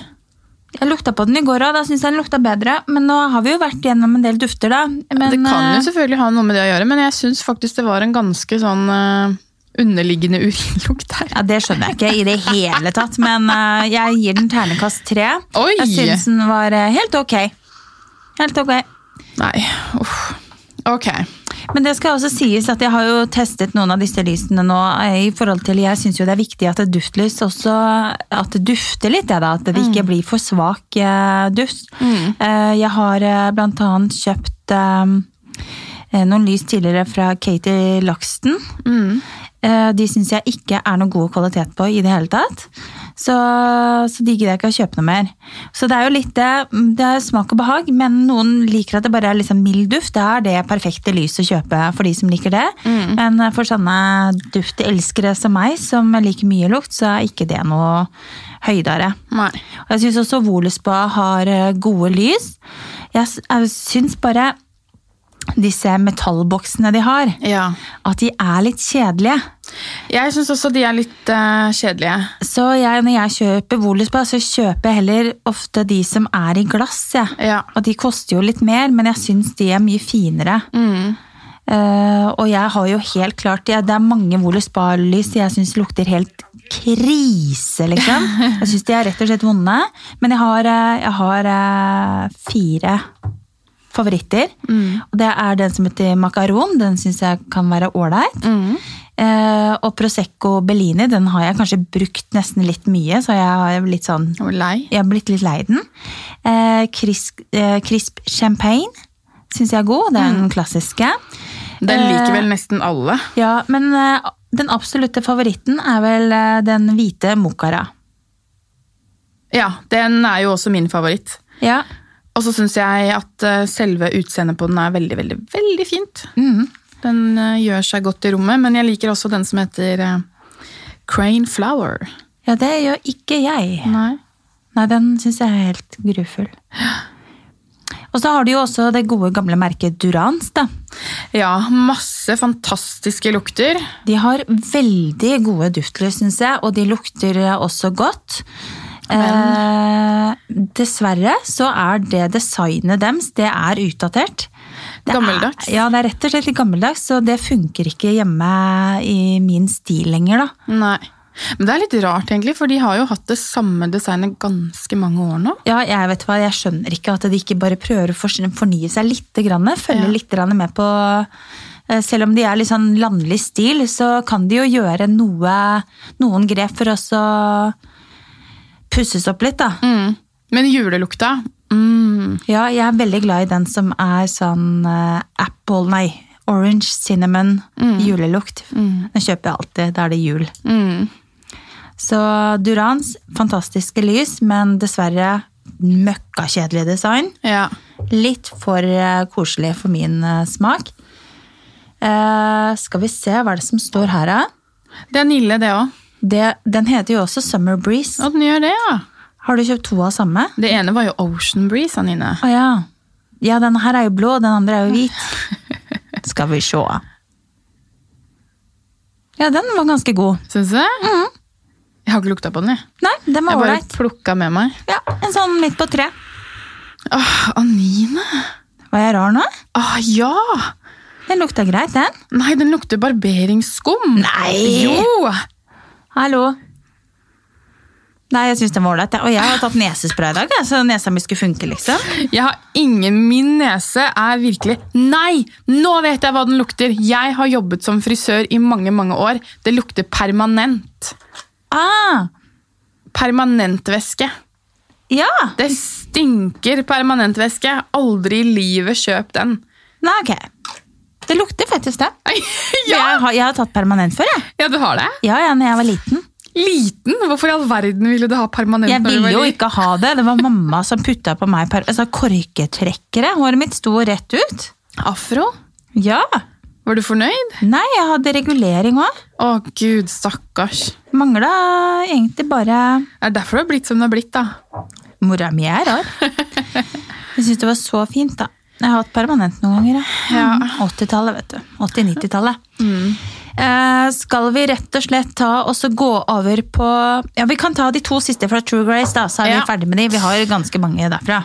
Jeg lukta på den i går òg, da syns jeg den lukta bedre. Men nå har vi jo vært gjennom en del dufter, da. Men,
Det kan jo
eh,
selvfølgelig ha noe med det å gjøre, men jeg syns faktisk det var en ganske sånn eh, underliggende urinlukt her.
ja, Det skjønner jeg ikke i det hele tatt, men eh, jeg gir den ternekast tre.
Oi!
Jeg syns den var eh, helt ok. Helt ok.
Nei, uff. Ok.
Men det skal også sies at jeg har jo testet noen av disse lysene nå. eh, i forhold til, Jeg syns jo det er viktig at et duftlys også at det dufter litt. Ja, da, at det ikke blir for svak eh, duft. Eh, jeg har eh, blant annet kjøpt eh, eh, noen lys tidligere fra Katie Laxton. Eh, de syns jeg ikke er noe god kvalitet på i det hele tatt. Så, så de gidder jeg ikke å kjøpe noe mer. Så det er jo litt det, det er smak og behag, men noen liker at det bare er liksom mild duft. Det er det perfekte lys å kjøpe for de som liker det. Men for sånne duftelskere som meg, som liker mye lukt, så er ikke det noe høydere.
Nei.
Og jeg syns også Voluspa har eh, gode lys. Jeg, s- jeg syns bare disse metallboksene de har,
Ja.
at de er litt kjedelige.
Jeg syns også de er litt eh, kjedelige.
Så jeg, når jeg kjøper Voluspa, så kjøper jeg heller ofte de som er i glass. Jeg.
Ja.
Og de koster jo litt mer, men jeg syns de er mye finere.
Mm.
Eh, og jeg har jo helt klart ja, Det er mange Voluspa-lys jeg syns lukter helt krise, liksom. Jeg syns de er rett og slett vonde. Men jeg har, eh, jeg har eh, fire favoritter. Og det er den som heter Macaron. Den syns jeg kan være ålreit. Eh, og Prosecco Bellini den har jeg kanskje brukt nesten litt mye, så jeg har litt sånn
Jeg var lei.
jeg har blitt litt lei den. Eh, crisp, eh, crisp champagne syns jeg er god. Det er den klassiske.
Den liker
Eh,
vel nesten alle.
Ja, men eh, den absolutte favoritten er vel eh, den hvite mokkara.
Ja, den er jo også min favoritt.
Ja.
Og så syns jeg at eh, selve utseendet på den er veldig, veldig, veldig fint.
Mhm.
Den eh, gjør seg godt i rommet, men jeg liker også den som heter eh, Crane Flower.
ja, det gjør ikke jeg.
Nei.
Nei, den syns jeg er helt grufull. Og så har du jo også det gode gamle merket Durans. da.
Ja, masse fantastiske lukter.
De har veldig gode duftlys, syns jeg, og de lukter også godt. Eh, dessverre så er det designet deres det er utdatert. Det
Gammeldags.
Er, ja, det er rett og slett litt gammeldags, og det funker ikke hjemme i min stil lenger. da.
Nei. Men det er litt rart, egentlig, for de har jo hatt det samme designet ganske mange år nå.
Ja, jeg vet hva, jeg skjønner ikke at de ikke bare prøver å forny- fornye seg litt, grann, følge
Ja.
litt grann med på eh, selv om de er litt sånn landlig stil, så kan de jo gjøre noe, noen grep for oss å pusses opp litt, da.
Mm. Men julelukta mm.
Ja, jeg er veldig glad i den som er sånn eh, apple, nei, orange, cinnamon, julelukt. Den kjøper jeg alltid, da er det jul.
Mm.
Så Durans, fantastiske lys, men dessverre møkkakjedelig design.
Ja.
Litt for eh, koselig for min eh, smak. Eh, skal vi se hva er det som står her, da?
Det er Nille, det òg.
Det, den heter jo også Summer Breeze.
Og den gjør det, ja.
Har du kjøpt to av samme?
Det ene var jo Ocean Breeze, Anine.
Å ja. Ja, den her er jo blå, den andre er jo hvit. Skal vi se. Ja, den var ganske god.
Syns du det? Jeg har ikke lukta på den, jeg.
Nei, den var
Jeg bare
ålreit.
plukka med meg.
Ja, en sånn midt på tre.
Åh, Anine!
Var jeg rar nå?
Åh, ja!
Den lukta greit, den.
Nei, den lukter barberingsskum.
Nei!
Jo!
Hallo. Nei, jeg syns den var ålreit. jeg. Og jeg har tatt nesespray i dag, jeg, så nesa mi skulle funke, liksom.
Jeg har ingen Min nese er virkelig Nei! Nå vet jeg hva den lukter! Jeg har jobbet som frisør i mange, mange år. Det lukter permanent.
Ah,
Permanentvæske.
ja.
Det stinker permanentvæske. Aldri i livet kjøp den.
Nei, ok. Det lukter faktisk det.
ja.
Jeg, har, jeg har tatt permanent før, jeg.
ja, du har det?
Ja, ja, når jeg var liten.
Liten? Hvorfor i all verden ville du ha permanent?
Jeg
når du
ville
var
jo
liten?
ikke ha det. Det var mamma som putta på meg par altså, korketrekkere. Håret mitt sto rett ut.
Afro?
Ja.
Var du fornøyd?
Nei, jeg hadde regulering òg.
Å gud, stakkars.
Mangla egentlig bare
Det er derfor du har blitt som du har blitt, da.
Mora mi er rar. Jeg syns det var så fint, da. Jeg har hatt permanent noen ganger. jeg.
Ja. Mm.
80-tallet, vet du. 80-90-tallet. Eh, skal vi rett og slett ta og så gå over på Ja, vi kan ta de to siste fra True Grace, da, så er
Ja.
vi ferdig med de. Vi har ganske mange derfra.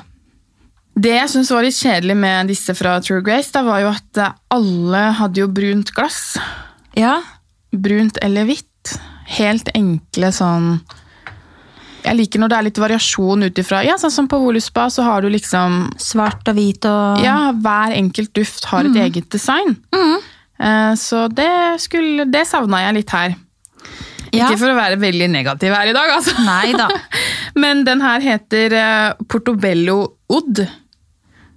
Det jeg syns var litt kjedelig med disse fra True Grace, da var jo at eh, alle hadde jo brunt glass.
Ja.
Brunt eller hvitt. Helt enkle sånn Jeg liker når det er litt variasjon ut ifra Ja, sånn som på Voluspa, så har du liksom
Svart og hvit og
Ja, hver enkelt duft har et eget design. Eh, Så det, skulle, det savna jeg litt her.
Ja.
Ikke for å være veldig negativ her i dag, altså.
Nei da.
Men den her heter eh, Portobello Odd.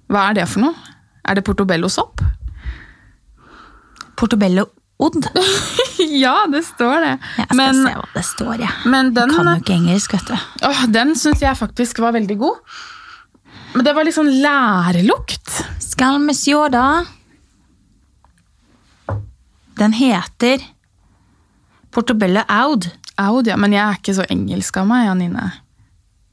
Hva er det for noe? Er det portobello-sopp?
Portobello Odd.
ja, det står det.
Jeg skal
men
se hva det står, jeg.
men den,
Kan jo ikke engelsk, vet du.
åh, den syns jeg faktisk var veldig god. Men det var litt sånn lærelukt.
Skal vi sjå, da. Den heter Portobello Aud.
Aud, ja. Men jeg er ikke så engelsk av meg, Janine.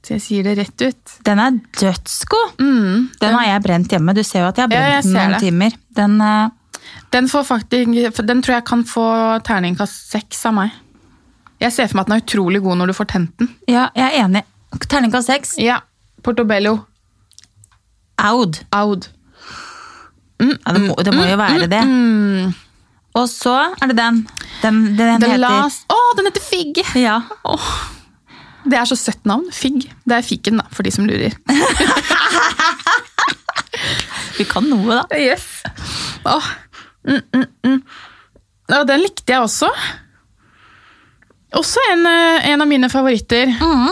Så jeg sier det rett ut.
Den er dødsgod!
Mm.
Den har jeg brent hjemme. Du ser jo at jeg har
Ja,
brent
jeg
den
ser
noen
det.
timer. Den, eh,
Den, får faktisk, for den tror jeg kan få terningkast seks av meg. Jeg ser for meg at den er utrolig god når du får tent den.
ja, jeg er enig. Terningkast seks.
Ja, Portobello.
Aud.
Aud.
Ja, det, må, det må jo være det. mm. Og så er det den. Den, den, den
The
heter
last Å, den heter Figg!
Ja.
Åh, Det er så søtt navn. Figg. Det er fiken, da, for de som lurer.
Vi kan noe, da.
Yes. Åh. Mm, mm, mm. Ja, den likte jeg også. Også en, eh, en av mine favoritter.
Mm.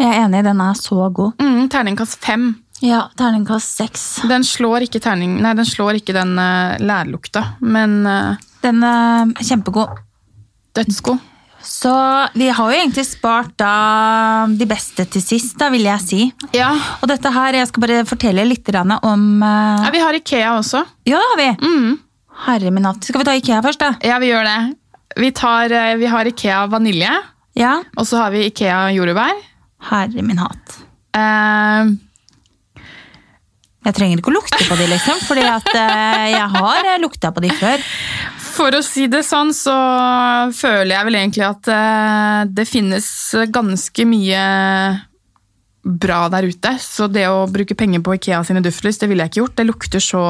Jeg er enig, den er så god.
Mm, terningkast fem.
Ja, terningkast seks.
Den slår ikke, terning, nei, den, slår ikke den eh, lærlukta, men eh,
Den er kjempegod.
dødsgod.
Så vi har jo egentlig spart da de beste til sist, da, vil jeg si.
Ja.
Og dette her, jeg skal bare fortelle litt grann om eh,
Vi har Ikea også. Mm.
Ja, det har vi! Herre min hatt. Skal vi ta Ikea først, da?
Ja, vi gjør det. Vi, tar, eh, vi har Ikea vanilje,
Ja.
og så har vi Ikea jordbær.
Herre min hatt.
Eh,
Jeg trenger ikke å lukte på de, liksom, fordi at eh, jeg har eh, lukta på de før.
for å si det sånn, så føler jeg vel egentlig at eh, det finnes ganske mye bra der ute. Så det å bruke penger på Ikea sine duftlys, det ville jeg ikke gjort. Det lukter så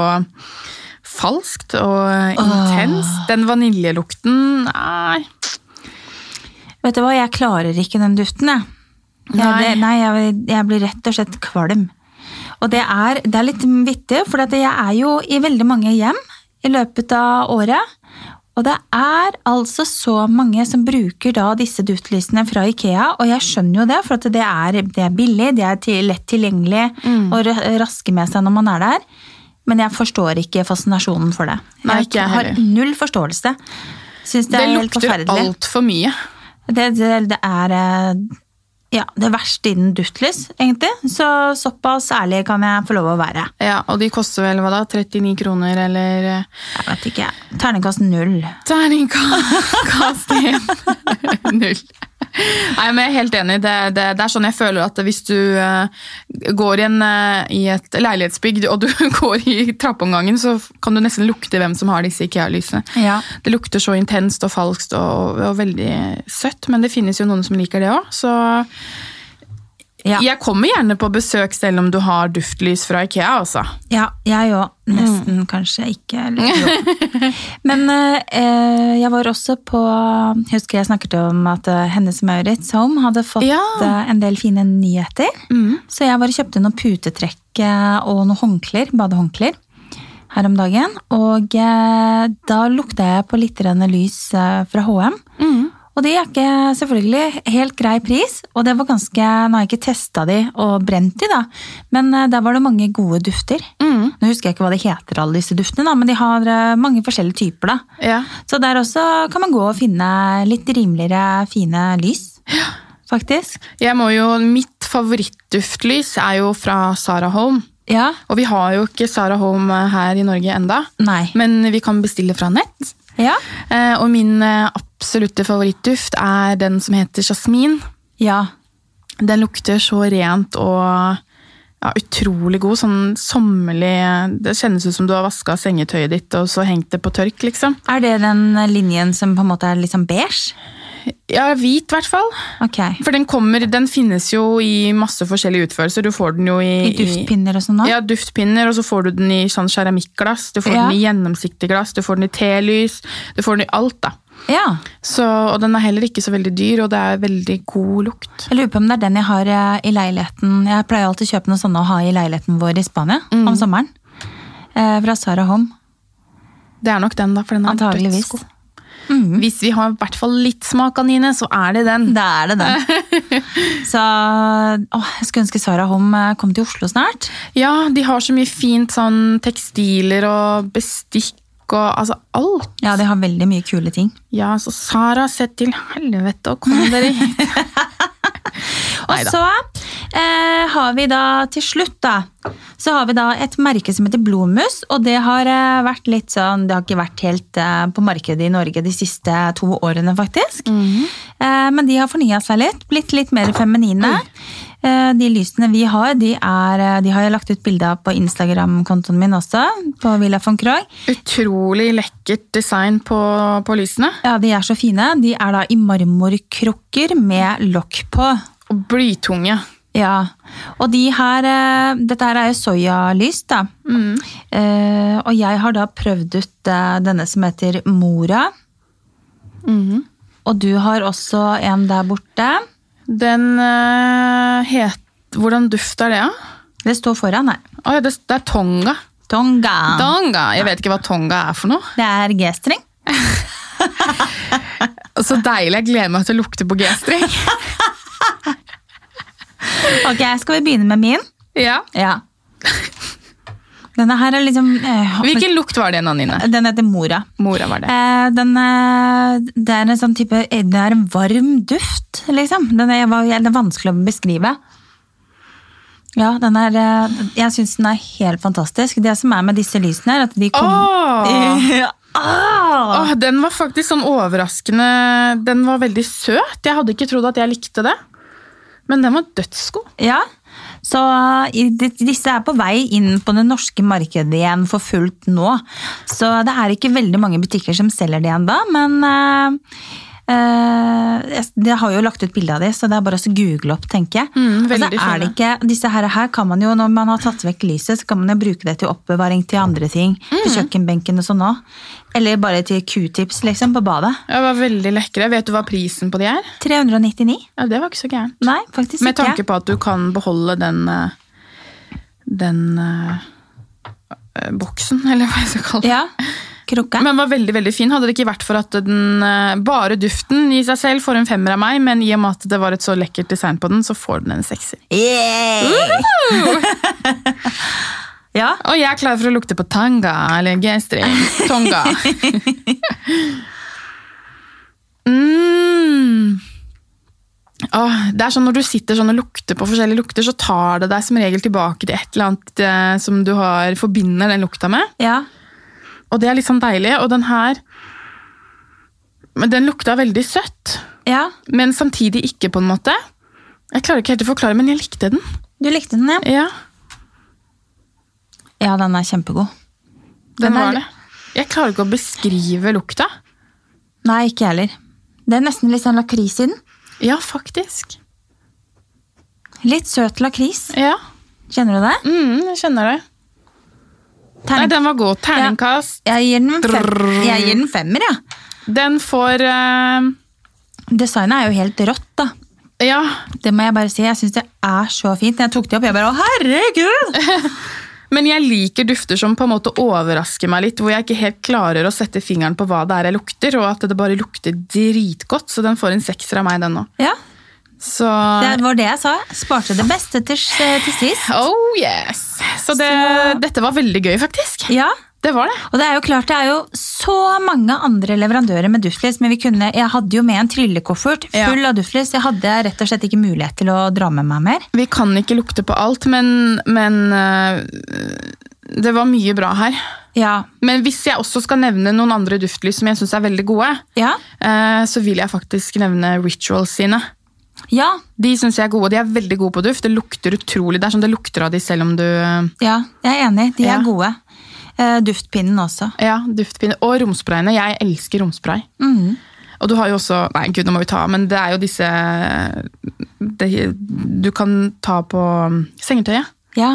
falskt og intenst. Den vaniljelukten Nei.
Vet du hva, jeg klarer ikke den duften, jeg. Jeg,
Nei.
det, nei, jeg, jeg blir rett og slett kvalm. Og det er, det er litt vittig, for at jeg er jo i veldig mange hjem i løpet av året. Og det er altså så mange som bruker da disse duftlysene fra Ikea, og jeg skjønner jo det, for at det er, det er billig, det er til, lett tilgjengelig
Mm.
og ra- raske med seg når man er der. Men jeg forstår ikke fascinasjonen for det.
Nei, ikke jeg
har
heller.
null forståelse. Synes det,
Det,
er helt
lukter
forferdelig.
altfor mye.
Det, det, det er eh, ja, det verste innen duftlys, egentlig. Så såpass ærlig kan jeg få lov å være.
Ja, Og de koster vel hva da? 39 kroner, eller eh,
Jeg vet ikke. Terningkast null.
Terningkast én. Null. Nei, men jeg er helt enig. Det, det, det er sånn jeg føler at hvis du eh, går i, en, eh, i et leilighetsbygg og du går i trappeomgangen, så kan du nesten lukte hvem som har disse IKEA-lysene.
Ja.
Det lukter så intenst og falskt og, og veldig søtt, men det finnes jo noen som liker det òg. Så
Ja,
jeg kommer gjerne på besøk selv om du har duftlys fra Ikea, altså.
ja jeg òg. Nesten kanskje ikke. eller jo. Men eh, eh, jeg var også på Husker jeg snakket om at eh, hennes Maurits Home hadde fått
Ja.
eh, en del fine nyheter. Så jeg bare kjøpte noen putetrekk eh, og noen håndklær, badehåndklær her om dagen. Og eh, da lukta jeg på litt grann lys eh, fra HM. Og det er ikke selvfølgelig helt grei pris, og det var ganske, nå har jeg ikke testa de og brent de da, men eh, der var det mange gode dufter. Nå husker jeg ikke hva det heter alle disse duftene da, men de har eh, mange forskjellige typer da.
Ja.
Så der også kan man gå og finne litt rimeligere fine lys, faktisk.
Jeg må jo, Mitt favorittduftlys er jo fra Sara Home.
Ja,
Og vi har jo ikke Sara Home her i Norge enda,
nei.
men vi kan bestille fra nett.
Ja,
Eh, Og min eh, absolutte favorittduft er den som heter jasmin.
ja,
Den lukter så rent og ja, utrolig god, sånn sommerlig eh, Det kjennes ut som du har vaska sengetøyet ditt og så hengt det på tørk, liksom.
er det den linjen som på en måte er litt sånn beige?
Ja, hvit, i hvert fall.
Ok,
For den kommer, den finnes jo i masse forskjellige utførelser. Du får den jo
i
i,
duftpinner og sånn da?
Ja, duftpinner, og så får du den i sånn keramikkglass, du får
Ja.
den i gjennomsiktig glass, du får den i telys, du får den i alt, da.
Ja,
Så, og den er heller ikke så veldig dyr, og det er veldig god lukt.
Jeg lurer på om det er den jeg har eh, i leiligheten. Jeg pleier alltid å kjøpe noen sånne å ha i leiligheten vår i Spania
Mm.
om sommeren. Eh, fra Sara Home,
Det er nok den, da, for den er
antageligvis. Mm.
dødsgod. Hvis vi har i hvert fall litt smak, Anine, så er det den.
Da er det den. Så åh, jeg skulle ønske Sara Home eh, kom til Oslo snart.
Ja, de har så mye fint sånn tekstiler og bestikk og altså alt.
Ja, de har veldig mye kule ting.
Ja, så Sara, sett til helvete og kom dere hit.
Og
Neida.
så eh, har vi da til slutt da, så har vi da et merke som heter Blomus, og det har eh, vært litt sånn, det har ikke vært helt eh, på markedet i Norge de siste to årene faktisk. eh, men de har fornyet seg litt, blitt litt mer feminine. Eh, de lysene vi har, de, er, eh, de har jeg lagt ut bilder av på Instagram-kontoen min også, på Villa von Krog.
Utrolig lekkert design på, på lysene.
Ja, de er så fine. De er da i marmorkrukker med lokk på.
Og blytunge.
Ja, og de her, eh, dette her er jo soyalys da. Eh, og jeg har da prøvd ut eh, denne som heter Mora. Mhm. Og du har også en der borte.
Den eh, het Hvordan duft er det, da?
Det står foran her.
Å ja, det, det er tonga.
Tonga.
Tonga! Jeg vet ikke hva tonga er for noe.
det er G-streng.
Så deilig. Jeg gleder meg til å lukte på G-streng.
Ok, skal vi begynne med min?
ja.
Ja. Denne her er liksom... eh,
Hvilken lukt var det, Nanine?
Den heter Mora.
Mora var det.
Eh, den, eh, det er en sånn type, det er en varm duft, liksom. Den er, var- den er vanskelig å beskrive. Ja, den er, eh, jeg synes den er helt fantastisk. Det som er med disse lysene er at de kommer...
Åh!
Ah!
Åh, den var faktisk sånn overraskende Den var veldig søt. Jeg hadde ikke trodd at jeg likte det. Men den var dødsgod.
Ja, så eh, i- de- disse er på vei inn på det norske markedet igjen for fullt nå. Så det er ikke veldig mange butikker som selger det ennå, men eh, eh, jeg- jeg har jo lagt ut bilde av de, så det er bare å så google opp, tenker jeg.
Mm,
Og så
veldig
er
fine.
det ikke, disse her, her kan man jo, når man har tatt vekk lyset, så kan man jo bruke det til oppbevaring til andre ting.
Mm.
Til kjøkkenbenken og sånn òg. Eller bare til q-tips, liksom, på badet.
Den var veldig lekre. Vet du hva prisen på de er?
399?
Ja, det var ikke så gærent.
Nei, faktisk
Med
ikke.
tanke på at du kan beholde den eh, den eh, eh, boksen, eller hva jeg skal kalle det.
Ja, krukka.
Men den var veldig veldig fin. Hadde det ikke vært for at den eh, bare duften i seg selv får en femmer av meg, men i og med at det var et så lekkert design på den, så får den en sekser.
Yeah! ja,
Og jeg er klar for å lukte på tanga, eller G-string. Tonga. mm. Åh, det er sånn Når du sitter sånn og lukter på forskjellige lukter, så tar det deg som regel tilbake til et eller annet eh, som du har, forbinder den lukta med.
ja.
Og det er litt sånn deilig. Og den her Men den lukta veldig søtt,
Ja,
men samtidig ikke, på en måte. Jeg klarer ikke helt å forklare, men jeg likte den.
du likte den, ja?
Ja,
Ja, den er kjempegod.
den
Den er-
var det. Jeg klarer ikke å beskrive lukta.
Nei, ikke jeg heller. Det er nesten litt sånn lakris i den.
Ja, faktisk.
Litt søt lakris.
Ja,
Kjenner du det?
mm, jeg kjenner det. Nei,
Terning.
den var god. Terningkast.
Jeg gir den en fem.
Drrrr.
Jeg gir den femmer, ja.
Den får eh,
Designet er jo helt rått, da.
Ja,
Det må jeg bare si. Jeg syns det er så fint. Jeg tok det opp, jeg bare Å, herregud!
men jeg liker dufter som på en måte overrasker meg litt, hvor jeg ikke helt klarer å sette fingeren på hva det er jeg lukter, og at det bare lukter dritgodt, så den får en sekser av meg, den nå.
Ja,
Så
det var det jeg sa. Sparte det beste til, til sist.
Oh yes! Så, det,
Så-
dette var veldig gøy, faktisk.
Ja.
Det var det.
Og det er jo klart, det er jo så mange andre leverandører med duftlys, men vi kunne, jeg hadde jo med en tryllekoffert
Ja.
full av duftlys. Jeg hadde rett og slett ikke mulighet til å dra med meg mer.
Vi kan ikke lukte på alt, men, men eh, det var mye bra her.
Ja.
Men hvis jeg også skal nevne noen andre duftlys som jeg syns er veldig gode,
Ja.
eh, så vil jeg faktisk nevne Rituals sine.
Ja.
De syns jeg er gode. De er veldig gode på duft. Det lukter utrolig. Det er som det lukter av de selv om du eh,
ja. Jeg er enig. De
Ja.
er gode. Eh, Duftpinnen også.
Ja, duftpinne. Og romsprayene. Jeg elsker romspray.
Mhm.
Og du har jo også Nei, gud, nå må vi ta Men det er jo disse det, Du kan ta på mm, sengetøyet.
Ja.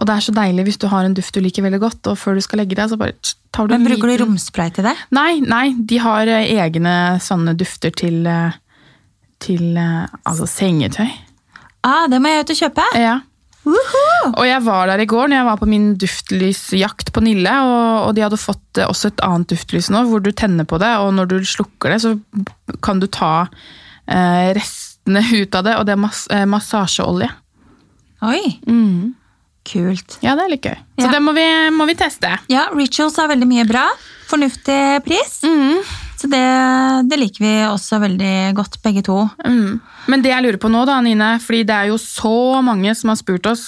Og det er så deilig hvis du har en duft du liker veldig godt, og før du skal legge deg, så bare tss, tar du
Men
en
bruker du
liten-
romspray til det?
Nei, nei, de har eh, egne sånne dufter til, eh, til eh, altså sengetøy.
Ah, det må jeg ut og kjøpe.
Ja.
Woohoo!
Og jeg var der i går når jeg var på min duftlysjakt på Nille, og, og de hadde fått eh, også et annet duftlys nå, hvor du tenner på det, og når du slukker det, så kan du ta eh, restene ut av det, og det er mas eh, massasjeolje.
Oi,
Mm.
kult.
Ja, det er litt gøy. Så
Ja.
det må vi, må vi teste.
Ja, Rituals har veldig mye bra. Fornuftig pris.
Mm.
Så det, det liker vi også veldig godt, begge to.
Mm. Men det jeg lurer på nå, da, Nine, fordi det er jo så mange som har spurt oss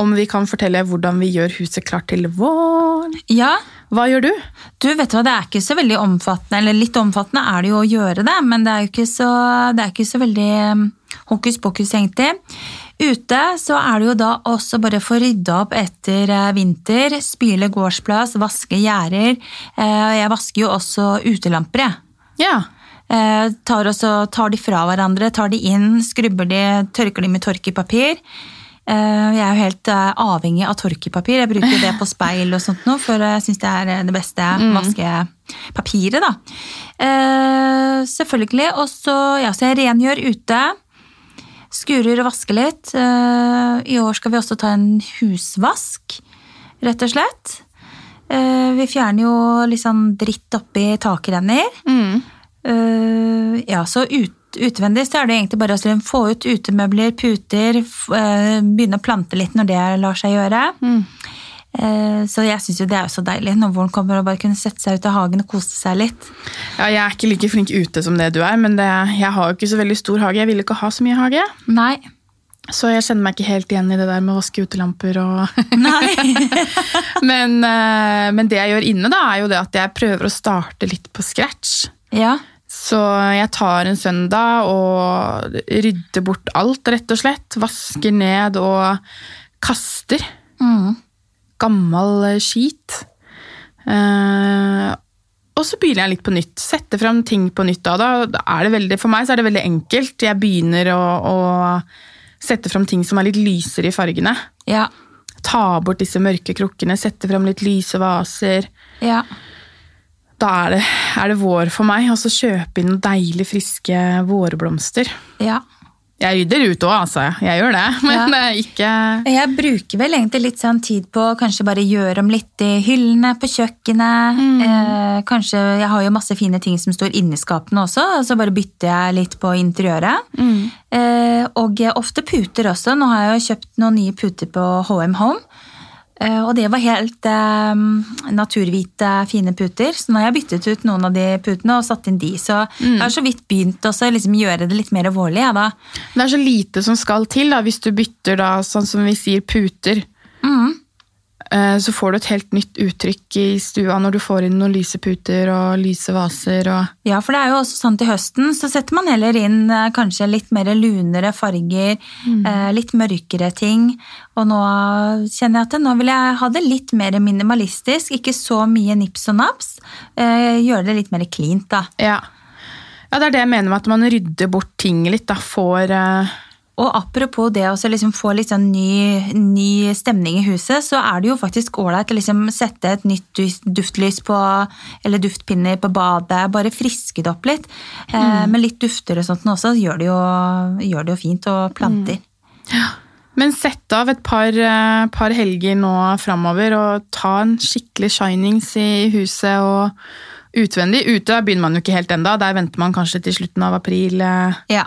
om vi kan fortelle hvordan vi gjør huset klart til våren.
Ja,
Hva gjør du?
du vet du hva, det er ikke så veldig omfattende, eller litt omfattende er det jo å gjøre det, men det er jo ikke så, det er ikke så veldig mm, hokus pokus egentlig. Ute så er det jo da også bare få rydda opp etter eh, vinter, spyle gårdsplass, vaske gjerder. Eh, Jeg vasker jo også utelamper, jeg.
Ja.
Eh, tar, også, tar de fra hverandre, tar de inn, skrubber de, tørker de med tørkepapir. Eh, jeg er jo helt eh, avhengig av tørkepapir. Jeg bruker det på speil og sånt nå, for jeg syns det er eh, det beste vaskepapiret, da. Eh, selvfølgelig. Og så ja, så jeg rengjør ute. Skurer og vasker litt. Eh, I år skal vi også ta en husvask, rett og slett. Eh, vi fjerner jo litt sånn dritt oppi takrenner. Eh, ja, så ut, utvendig så er det egentlig bare å liksom få ut utemøbler, puter, f, eh, begynne å plante litt når det lar seg gjøre. Eh, så jeg syns jo det er jo så deilig når våren kommer og bare kunne sette seg ut av hagen og kose seg litt.
ja. Jeg er ikke like flink ute som det du er, men det, jeg har jo ikke så veldig stor hage. Jeg vil ikke ha så mye hage,
Nei.
så jeg kjenner meg ikke helt igjen i det der med å vaske utelamper og
Nei.
men, eh, men det jeg gjør inne, da, er jo det at jeg prøver å starte litt på scratch.
ja.
Så jeg tar en søndag og rydder bort alt, rett og slett. Vasker ned og kaster
Mm.
gammel eh, skit. Eh, og så begynner jeg litt på nytt. Setter fram ting på nytt. Da, da da er det veldig, for meg så er det veldig enkelt. Jeg begynner å, å sette fram ting som er litt lysere i fargene.
Ja.
Ta bort disse mørke krukkene, sette fram litt lyse vaser.
Ja.
Da er det, er det vår for meg. Og så kjøpe inn noen deilig friske vårblomster.
Ja.
Jeg rydder ut òg, altså. Jeg gjør det. Men eh, ikke
Jeg bruker vel egentlig litt sånn tid på å kanskje bare gjøre om litt i hyllene på kjøkkenet. Eh, kanskje, Jeg har jo masse fine ting som står inni skapene også, og så bare bytter jeg litt på interiøret.
Mm.
Eh, og ofte puter også. Nå har jeg jo kjøpt noen nye puter på HM Home. Eh, og det var helt eh, naturhvite, fine puter. Så nå har jeg byttet ut noen av de putene og satt inn de. Så jeg har så vidt begynt også å liksom gjøre det litt mer vårlig. Ja, da.
Det er så lite som skal til da, hvis du bytter da, sånn som vi sier, puter. eh, så får du et helt nytt uttrykk i stua når du får inn noen lyse puter og lyse vaser. Og,
Ja, for det er jo også sånn til høsten så setter man heller inn eh, kanskje litt mer lunere farger, eh, litt mørkere ting. Og nå kjenner jeg at det- nå vil jeg ha det litt mer minimalistisk, ikke så mye nips og naps. Eh, gjøre det litt mer cleant, da.
ja. ja, det er det jeg mener med at man rydder bort ting litt. Da får eh,
Og apropos det å så liksom få litt sånn ny, ny stemning i huset, så er det jo faktisk ålreit å liksom sette et nytt du- duftlys på, eller duftpinner på badet. Bare friske det opp litt. Eh, med litt dufter og sånt nå også, gjør det jo, gjør det jo fint. Og planter.
Men sett av et par, eh, par helger nå framover og ta en skikkelig shinings i huset og utvendig. Ute begynner man jo ikke helt enda, der venter man kanskje til slutten av april eh,
Ja.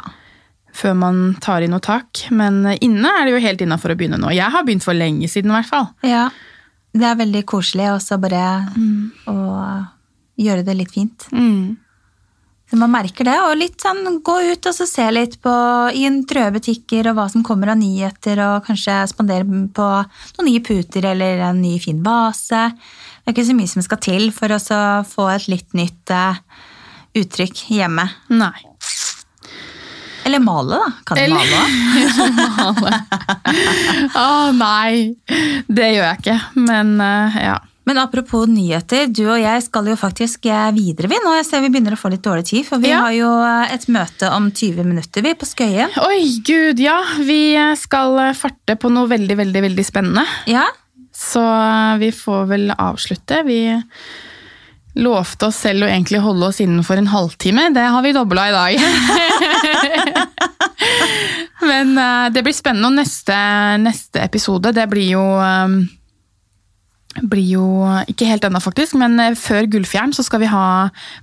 før man tar i noe tak. Men eh, inne er det jo helt innafor å begynne nå. Jeg har begynt for lenge siden i hvert fall.
ja. Det er veldig koselig også bare å gjøre det litt fint. Så man merker det, og litt sånn gå ut og så se litt på i en trøbutikker og hva som kommer av nyheter, og kanskje spandere på noen nye puter eller en ny fin vase. Det er ikke så mye som skal til for å så få et litt nytt eh, uttrykk hjemme.
Nei.
Eller male, da. Kan du
Eller-
male òg?
Å nei, det gjør jeg ikke. Men eh, ja.
Men apropos nyheter, du og jeg skal jo faktisk eh, videre vi nå. Jeg ser vi begynner å få litt dårlig tid, for vi
Ja.
har jo eh, et møte om 20 minutter vi på Skøyen.
Oi, gud, ja. Vi skal eh, farte på noe veldig, veldig, veldig spennende.
Ja,
Så eh, vi får vel avslutte. Vi lovte oss selv å egentlig holde oss innenfor en halvtime. Det har vi dobla i dag. Men eh, det blir spennende. Og neste, neste episode, det blir jo eh, blir jo ikke helt ennå, faktisk, men eh, før Gullfjern så skal vi ha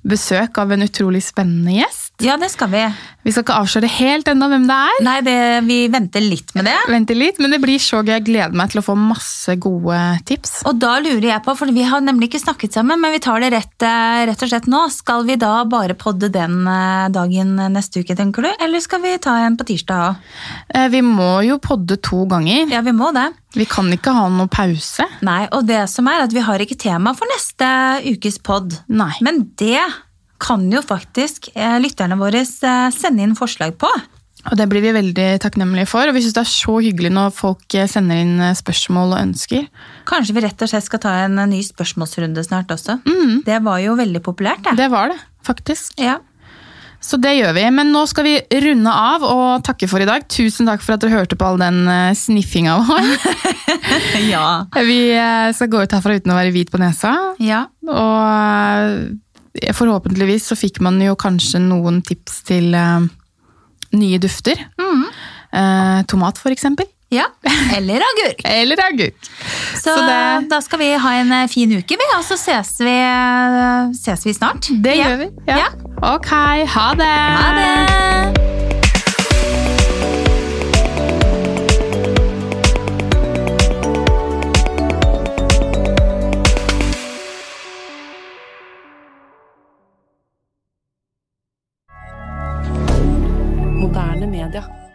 besøk av en utrolig spennende gjest.
ja det skal vi.
Vi skal ikke avsløre helt ennå hvem det er.
Nei, det, vi venter litt med det.
Vente litt, men det blir så gøy. Jeg gleder meg til å få masse gode tips.
Og da lurer jeg på, for vi har nemlig ikke snakket sammen, men vi tar det rett, eh, rett og slett nå. Skal vi da bare podde den eh, dagen neste uke, tenker du? Eller skal vi ta en på tirsdag òg?
Eh, Vi må jo podde to ganger.
Ja, vi må det.
Vi kan ikke ha noen pause.
Nei, og det som er at vi har ikke tema for neste ukes pod.
Nei.
Men det kan jo faktisk eh, lytterne våre eh, sende inn forslag på.
Og det blir vi veldig takknemlige for. Og vi syns det er så hyggelig når folk eh, sender inn eh, spørsmål og ønsker.
Kanskje vi rett og slett skal ta en eh, ny spørsmålsrunde snart også. Det var jo veldig populært, Mm. det.
Det var det, faktisk.
Ja.
Så det gjør vi. Men nå skal vi runde av og takke for i dag. Tusen takk for at dere hørte på all den eh, sniffinga vår.
ja.
Vi eh, skal gå ut herfra uten å være hvit på nesa.
Ja.
Og eh, forhåpentligvis så fikk man jo kanskje noen tips til eh, nye dufter. Eh, tomat, for eksempel.
ja. Eller agurk.
Eller agurk.
Så,
Så det-
da skal vi ha en eh, fin uke, vi, og så ses vi, eh, ses vi snart.
Det
Ja.
gjør vi. Ja.
Ja.
Ok, ha det!
Ha det!
Moderne media.